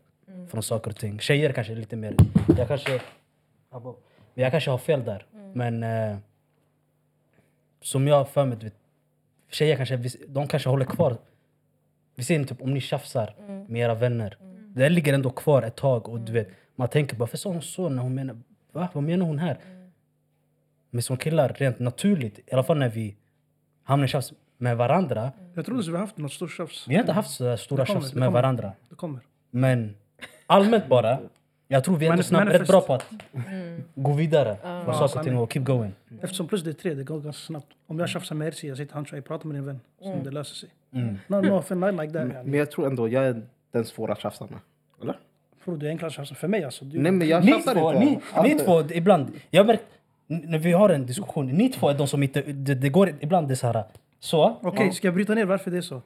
B: från saker och ting. Tjejer kanske är lite mer... Jag kanske... Abo. Jag kanske har fel där. Men... Eh, som jag har för mig, du vet, tjejer kanske, vis- de kanske håller kvar vi ser typ om ni tjafsar med era vänner. Det ligger ändå kvar ett tag och du vet, man tänker varför sa hon så när hon menar, va? Vad menar hon här? Men som killar, rent naturligt, i alla fall när vi hamnar i tjafs med varandra.
A: Jag trodde att vi har haft något stort tjafs.
B: Vi har inte haft så där stora
A: Det kommer,
B: tjafs
A: det
B: med
A: kommer.
B: varandra.
A: Det kommer.
B: Men allmänt bara, jag tror vi är ändå
A: Manif-
B: snabbt rätt
A: manifest.
B: bra på att gå vidare från saker och ting
A: sanning.
B: och keep going.
A: Eftersom plus det är tre, det går ganska snabbt. Om jag tjafsar med Herzi, jag sitter han jag pratar med din vän. Så det löser sig. No, no, för I like that. yani.
C: men jag tror ändå jag är den svåra att tjafsa med. Eller?
A: Bror, det är enklare att tjafsa för mig alltså. Du,
C: Nej, men jag
B: Ni
C: tjafsar
B: två,
C: inte.
B: ni, ni
C: Alltså,
B: två d- ibland. Jag har märkt, n- när vi har en diskussion, ni två är de som inte... Det, det går ibland det är så här... Så.
A: Okej, ska jag bryta ner varför det är så?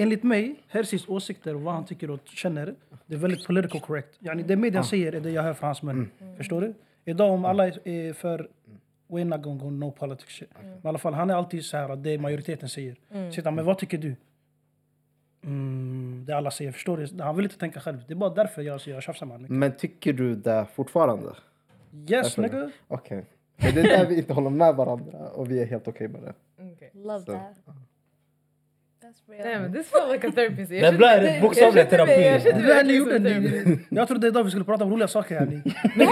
A: enligt mig, Hersis åsikter och vad han tycker och känner, det är väldigt political correct. Yani det media säger är det jag hör från hans mun.
D: Mm.
A: Förstår du? Idag om alla är- är för We're not gonna go no politics shit.
D: Mm.
A: Men i alla fall, han är alltid så här att det majoriteten säger. Mm. Sitter han, men vad tycker du? Mm, det alla säger, förstår du? Han vill inte tänka själv. Det är bara därför jag, jag tjafsar med honom.
C: Men tycker du det fortfarande?
A: Yes
C: Därför-
A: nigga!
C: Okej. Men Det är där vi inte håller med varandra och vi är helt okej med det.
D: Okay.
G: Love
C: Så.
G: that. That's real.
D: Nej men this felt like a therapy session.
B: Det blir en bokstavlig terapi.
D: Jag
A: Det
D: kände
A: var
D: mig
A: ni
D: liksom
A: gjorde ni. Jag trodde idag vi skulle prata om roliga saker. Yani. Men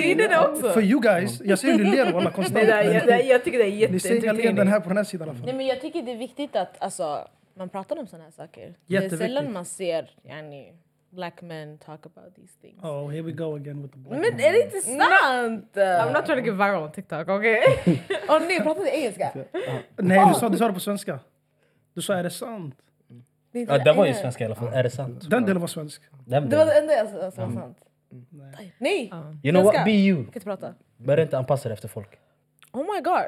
D: Vi gjorde det också.
A: för you guys, jag ser hur ni ler walla konstant.
D: Det där, jag,
A: men
D: det, jag tycker det är
A: Ni ser egentligen den
D: jätteentertaining.
A: här på den här sidan i alla fall.
F: Nej, men jag tycker det är viktigt att alltså, man pratar om såna här saker. Det är
A: Jätteviktigt.
F: sällan man ser yani, black men talk about these things. Mm.
A: Oh, here we go again with the black
F: Men är det inte sant?
D: I'm not trying to get viral on TikTok, okay?
F: Åh nej, pratar du engelska?
A: Nej, du sa, du sa det på svenska. Du sa är det sant?
F: Det, är inte
B: Ja,
F: det
B: det var ju
F: enda-
B: svenska i alla fall. Är det sant?
A: Den delen var svensk.
B: Den
F: Det var
B: delen.
F: det enda jag sa som
B: Mm.
F: var sant.
A: Nej.
F: Nej!
D: Ja.
F: Jag
B: You know what?
F: svenska.
B: Be you.
F: kan inte prata.
B: Börja inte anpassa dig efter folk.
F: Oh my god.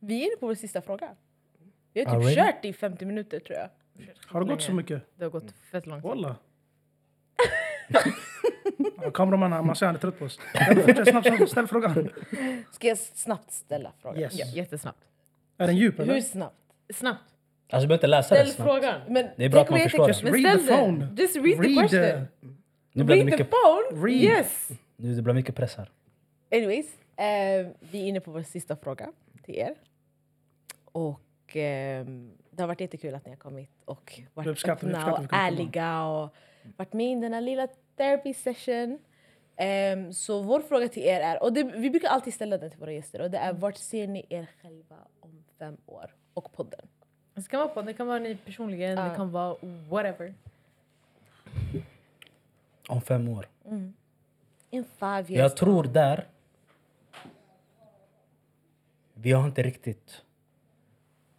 F: Vi är inne på vår sista fråga. Vi har typ
B: Already?
F: kört i 50 minuter tror jag.
A: Har det gått så mycket?
D: Det har gått fett långt.
A: Walla. Ja, Kameramannen, man ser han är trött på oss. Ja, men Fortsätt snabbt, snabbt, ställ frågan.
F: Ska jag snabbt ställa frågan?
A: Yes.
D: Ja, jättesnabbt.
A: Är den djup eller?
F: Hur snabbt?
D: Snabbt.
B: Alltså, du behöver inte läsa det
D: Ställ
B: snabbt.
D: frågan.
F: Men
B: Det är
F: tänk
B: bra att
F: om
B: man
F: jag
B: förstår
F: tänker-
B: det.
A: Just
D: Men
A: read the
D: ställ den.
A: phone.
D: Just read the
A: Read
D: question.
A: the-
B: Nu blir det
F: Read the
B: mycket,
F: phone!
A: Read.
D: Yes!
B: nu det blir mycket press här.
F: Anyways, eh, vi är inne på vår sista fråga till er. Och ehm, det har varit jättekul att ni har kommit och varit
A: Vi uppskattar- vi
F: öppna
A: uppskattar att vi kunde
F: och
A: komma.
F: ärliga och varit med i den här lilla therapy session. Ehm, så vår fråga till er är, och det, vi brukar alltid ställa den till våra gäster, och det
A: Mm.
F: är vart ser ni er själva om fem år? Och podden.
D: Det kan vara på, det kan vara ni personligen,
F: Ja.
D: det kan vara whatever.
B: Om fem år.
F: In five years.
B: Jag tror där... Vi har inte riktigt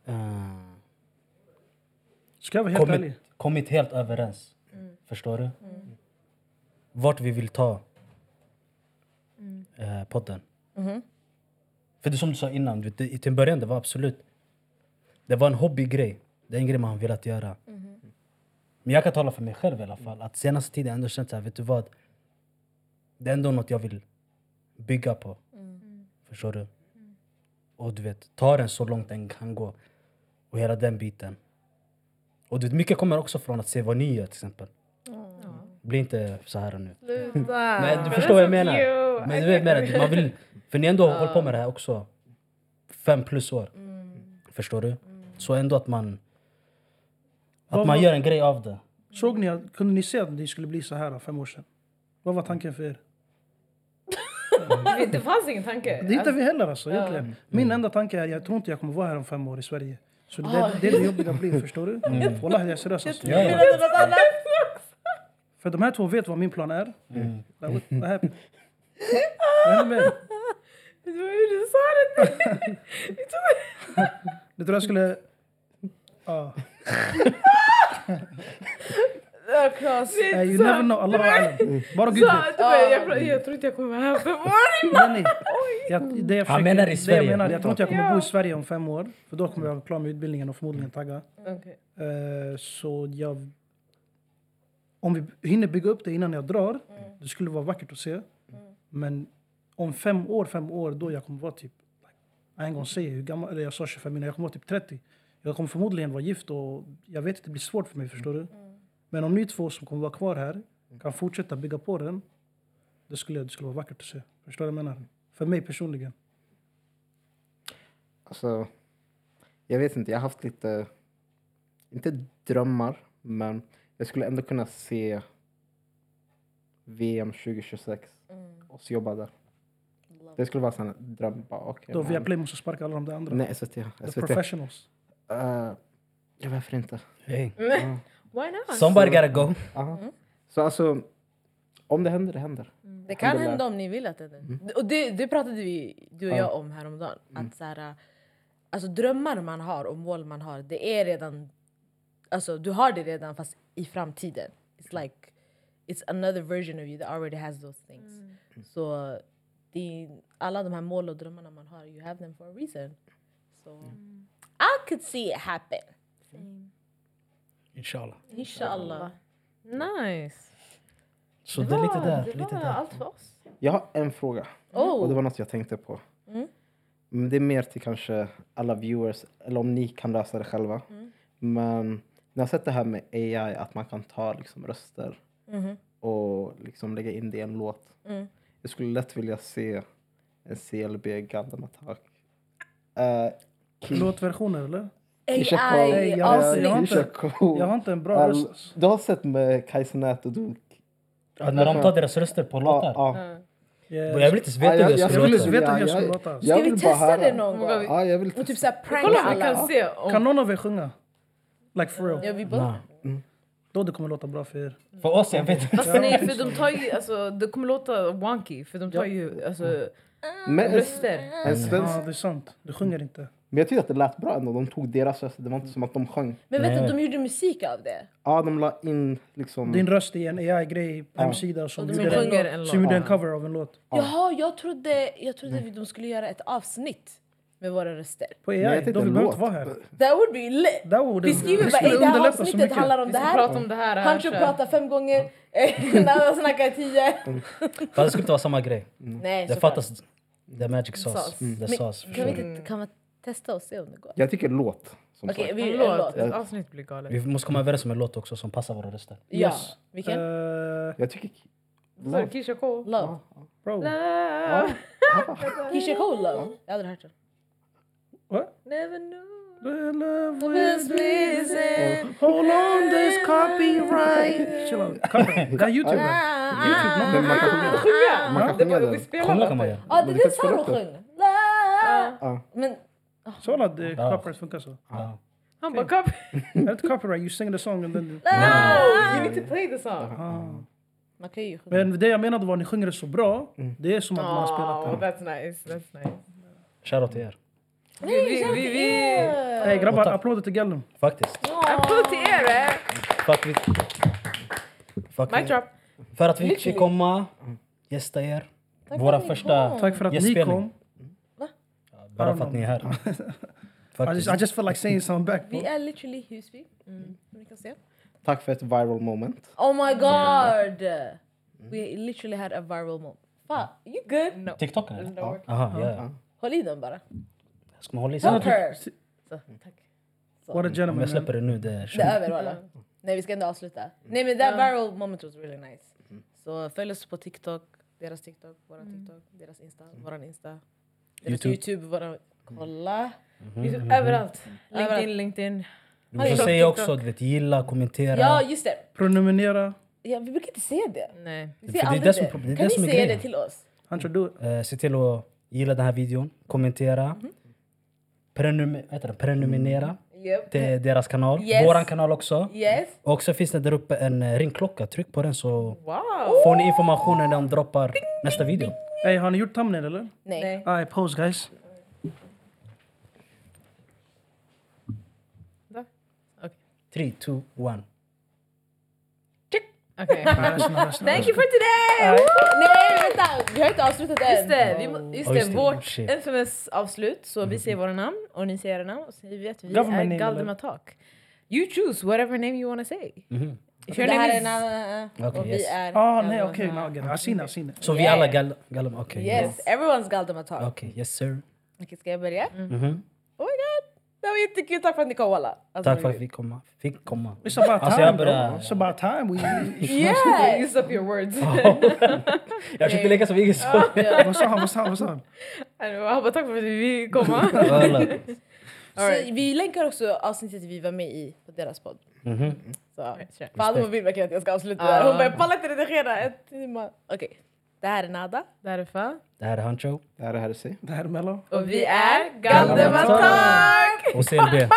B: eh,
A: Ska jag vara helt
B: kommit,
A: ärlig?
B: kommit helt överens. Förstår du? Vart vi vill ta eh, podden.
F: Mhm.
B: För det är som du sa innan, du vet, det- i till en början det var absolut... Det var en hobbygrej. Det är en grej man har velat göra. Men jag kan tala för mig själv i alla fall. Att senaste tiden har jag ändå känt så här, vet du vad? Det är ändå något jag vill bygga på. Förstår du? Och du vet, ta den så långt den kan gå. Och hela den biten. Och du vet, mycket kommer också från att se vad ni gör till exempel. Bli inte så här nu.
D: Sluta!
B: Men du förstår vad jag menar. Men du vet, jag menar, man vill, för ni har ändå hållit på med det här också. Fem plus år. Förstår du? Så ändå att man... Att
A: Vad
B: man
A: var-
B: gör en grej av det.
A: Såg ni, att- kunde ni se att det skulle bli så här fem år sedan? Vad var tanken för er?
D: Det- Det fanns ingen tanke.
A: Det hittar vi heller alltså egentligen. Min enda tanke är, jag tror inte jag kommer vara här om fem år i Sverige. Så det,
D: Ah.
A: det är det jobbiga blir, förstår du? Wallahi, jag är seriös alltså.
B: Ja, ja.
A: För de här två vet vad min plan är.
B: Mm.
A: Like, what, what happened? Vad hände med dig?
D: Du du sa det inte!
A: Du tror jag skulle... Ja.
F: Klas,
A: Eh, You never know, Allah alam. Bara Gud
D: Så,
A: vet.
D: du bara, jag, jag tror inte jag kommer vara här för morgon.
A: Nej, nej. Jag, det jag
B: Han
A: försöker,
B: menar i
A: det jag,
B: Sverige.
A: menar, jag tror inte jag kommer
D: Ja.
A: bo i Sverige om fem år. För då kommer jag vara klar med utbildningen och förmodligen tagga. Eh, så jag... Om vi hinner bygga upp det innan jag drar, det skulle vara vackert att se. Men om fem år, fem år, då jag kommer vara typ... Jag en gång säger hur gammal, eller jag sa 25 innan, jag kommer vara typ 30. Jag kommer förmodligen vara gift och jag vet att det blir svårt för mig, förstår du? Men om ni två som kommer vara kvar här kan fortsätta bygga på den, det skulle, det skulle vara vackert att se. Förstår du vad jag menar? För mig personligen.
C: Alltså, jag vet inte, jag har haft lite, inte drömmar, men jag skulle ändå kunna se VM 2026 och så jobba där. Det skulle vara en dröm. Bara, okay,
A: Då
C: men-
A: Viaplay måste sparka alla de där andra.
C: Nej, SVT.
A: The
C: SVT.
A: professionals.
C: Eh, ja, varför inte?
B: Hey.
D: Why not?
B: Somebody gotta go.
C: Ja. Så alltså, om det händer, det händer.
F: Det kan
C: Det där.
F: hända om ni vill att det händer.
C: Mm.
F: Och det, det pratade vi, du och jag om häromdagen. Att så här, alltså drömmar man har och mål man har, det är redan... Alltså du har det redan fast i framtiden.
C: Mm.
F: It's like, it's another version of you that already has those things.
D: Mm.
F: Så det, är- alla de här mål och drömmarna man har, you have them for a
C: Mm.
F: reason. So, I could see it happen.
B: Inshallah.
F: Inshallah.
D: Nice.
B: Så det är lite där. lite där.
D: allt för oss.
C: Jag har en fråga.
F: Oh,
C: Mm. Och det var något jag tänkte på.
F: mm,
C: Men det är mer till kanske alla viewers, eller om ni kan lösa det själva. Men jag har sett det här med AI, att man kan ta liksom, röster
F: mm,
C: och liksom lägga in det i en låt. Jag skulle lätt vilja se en CLB Gundam Attack. Eh,
A: Låtversioner eller?
C: Kisha
A: Nej,
G: AI
A: jag har-
G: avsnitt.
A: jag har inte-
C: Kisha Eh, Cole.
A: Jag har inte en bra
C: All-
A: röst. alltså.
C: Du har sett med Kajsa Nät och Dunk?
B: Ja, när de tar deras röster på låtar.
C: Ja, ja.
B: Jag
A: Jag,
B: vill inte veta hur
C: Ja,
B: Ah, jag
A: jag vill
B: skulle
A: inte
B: låta.
A: veta hur jag
C: Ja,
A: ska
C: ja,
A: låta. alltså.
C: Jag
G: Ska vi
C: vill bara
G: testa det
C: höra.
G: någon
D: Vad
G: gång?
D: vi-
C: Ja, jag vill
G: Och typ
C: testa.
G: såhär pranka
D: Kolla om vi
G: alla.
D: kan se
A: Kan
D: om...
A: någon av er sjunga? Like for real?
F: Ja, vi bara...
B: Nej.
A: Då det kommer låta bra för er.
B: För oss, jag vet inte.
D: Fast nej, för de tar ju... Alltså, det kommer låta wonky, för de tar ju alltså,
C: Men en,
D: röster.
C: en svensk
A: Ja, det är sant. Du sjunger inte.
C: Men jag tyckte att det lät bra ändå. De tog deras röster. Det var inte som att de sjöng.
F: Men vet
B: Nej.
F: du, de gjorde musik av det.
C: Ja, de la in liksom...
A: Din röst är en AI-grej på hemsida som
D: de
A: gjorde
D: sjunger
A: en,
D: en
A: som gjorde en
C: låt.
A: cover av en låt.
F: Jaha, jag trodde, jag trodde vi- de skulle göra ett avsnitt med våra röster.
A: På
C: Nej, jag
A: AI.
C: tänkte
A: De vill
C: en
A: bara
C: låt.
A: inte vara här.
F: That would be lit!
A: Det vore-
F: Vi skriver
A: det
F: bara
A: skulle
F: "Ey, det här
A: underlätta så
F: avsnittet
A: mycket."
F: handlar om
D: Vi
F: det
D: ska
F: här.
D: prata om det här. här,
F: Hancho
D: så-
F: pratar fem gånger, eh, Nada snackar tio.
B: Fast det skulle inte vara samma grej.
F: Nej,
B: Det
F: såklart.
B: fattas Mm, the magic sauce.
F: Sauce.
B: The
F: Men-
B: sauce.
F: Kan vi, inte- kan vi testa och se om det går?
C: Jag tycker låt. Som
F: Okej,
C: sagt.
F: vi
D: En
F: gör en låt.
D: låt. Ett avsnitt blir galet.
B: Vi måste komma överens om en låt också som passar våra röster.
F: Ja,
A: Yes.
F: vilken?
A: Eh,
C: Jag tycker...
D: Så är det Kisha K.
F: Love.
A: bro.
D: Love.
F: Keisha Cole Love. Jag har aldrig hört den.
A: What?
D: Never knew.
A: The love
D: This
A: with
D: is it.
A: Hold on this copyright. Chill out. Cover. Det här är typ Youtube.
C: YouTube, men man kan
F: Ah,
C: sjunga.
D: Sjunga!
C: Man kan
D: Det
C: sjunga
D: var, vi
C: den.
D: spelar
B: Kolla
D: låten.
B: kan man göra.
F: Ja,
C: Men
F: det
C: du
F: är
C: kan
F: den
C: spela
F: Saro
C: upp den.
F: sjöng. La-
C: Ja.
F: Men
A: Så alla eh,
B: Ja.
A: copyright funkar så.
B: Ja.
D: Han bara kom.
A: Är det inte copyright? You sing the song and then...
D: You need to play the song.
A: Ah.
F: man kan ju sjunga.
A: Men det jag menade var att ni sjunger det så bra. Det är som att man har spelat den.
D: Oh, that's nice, that's nice.
B: Shoutout till er.
D: Vi, vi, vi, vi.
A: Hey, grabbar,
B: Och tack.
A: applåder till Gellum.
B: Faktiskt.
D: Applåd till er! eh.
B: Fuck vi... Fuck
D: Mic drop.
B: För att vi fick komma, gästa er. Våra första...
A: Tack för att ni
B: Gästspelning.
A: kom.
B: Bara för att ni är här.
A: I just,
B: Faktiskt.
A: I just feel like saying something back.
F: Vi
A: bro.
F: är literally Husby. Som ni kan se.
C: Tack för ett viral moment.
F: Oh my god! We literally had a viral moment. Fan, you good?
D: No.
B: TikTok eller?
D: Don't work.
B: Aha, ja, ja.
F: Håll i den bara.
B: Ska man hålla i sig?
F: Help her!
D: Så, tack.
A: What a
B: Om
A: gentleman.
B: jag
A: man.
B: släpper det nu, det är
F: Det
B: kört.
F: är över walla. Nej vi ska ändå avsluta. Nej men that viral moment was really nice. Så följ oss på TikTok, deras TikTok, våran
D: Mm.
F: TikTok, deras Insta, våran Insta. Deras
B: YouTube.
F: YouTube, våran... Kolla!
D: YouTube, Överallt.
F: Överallt.
D: LinkedIn, LinkedIn.
B: Du måste
D: TikTok,
B: säga
D: TikTok.
B: också, du vet, gilla,
F: Ja
B: kommentera.
F: just det!
A: Prenumerera.
F: Ja, vi brukar inte se det.
D: Nej.
F: Vi
B: det
F: ser
B: är
F: aldrig
B: det som är
F: det.
B: problemet, det
F: Kan
B: är det som
F: ni
B: är
F: säga
B: grejen.
F: det till oss?
A: Hunter, do it.
B: Eh, Se till att gilla den här videon, kommentera. Prenum- vad heter det? Prenumerera
F: Yep.
B: till deras kanal.
F: Yes.
B: Våran kanal också.
F: Yes!
B: Och så finns det där uppe en eh, ringklocka. Tryck på den så
D: Wow!
B: får ni informationen när de droppar nästa video.
A: Hey, har ni gjort thumbnail eller?
F: Nej.
D: Nej.
A: All right, pose guys.
B: Three, two, one.
D: Okej.
A: Nice, nice, nice.
D: Thank you for today! Woo!
F: Nej vänta! Vi har inte avslutat än.
D: Just det, vi, må- just
B: Ja, just
D: det
B: det. Oh,
D: vårt
B: Shit. Mhm.
D: infamous avslut. Så vi säger våra namn och ni säger era namn och så säger vi att vi
A: Government
D: är
A: name,
D: Galdem
A: eller?
D: Attack. You choose whatever name you wanna say.
B: Mhm.
D: If
F: Det
D: your name
F: här är
D: is...
F: en annan... eh,
B: Okej,
F: och vi
B: yes.
F: är...
A: Ah,
F: Galdem
A: nej, okej.
F: Attack.
A: Okay, no, I seen it, I seen it.
B: Så vi
F: Yeah.
B: alla gal- gallum? Okej.
F: Yes, everyone's Galdem Attack.
B: Okej, yes sir.
F: Okej, ska jag börja?
D: Mm.
B: Mhm.
F: Oh my god! Det var jättekul, tack för att ni kom walla! Alltså,
B: Tack för att
F: vi-
B: vi komma. fick komma.
A: It's about
B: Alltså,
A: time,
B: jag
A: bro.
B: börjar-
A: It's about time. We...
F: Yeah!
D: Use up your words.
B: Jag försökte leka som ingen såg.
A: Vad sa han? Vad sa han? Vad sa han?
D: Jag bara tack för att vi fick komma.
B: Voilà.
F: Så vi länkar också avsnittet vi var med i på deras podd.
B: Mhm.
F: Så.
D: sure.
F: Fatima vill verkligen att jag ska avsluta
D: Ja.
F: där. Hon bara jag pallar inte redigera en timme. Okej, det här är Nada.
D: Därför.
B: Det här är Hancho
C: Det här är Hersey.
A: Det här är Mello.
D: Och vi är
F: Galdem
D: Galdem Attack!
B: och CLB.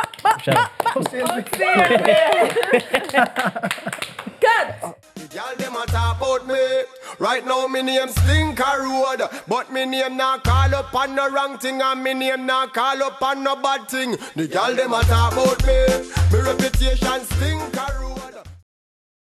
B: Kör.
F: Cut!
H: Y'all dem a talk about me. Right now me name Slinker Road, but me name not call up on no wrong thing, and me name not call up on no bad thing. The y'all dem a talk about me. Me reputation Slinker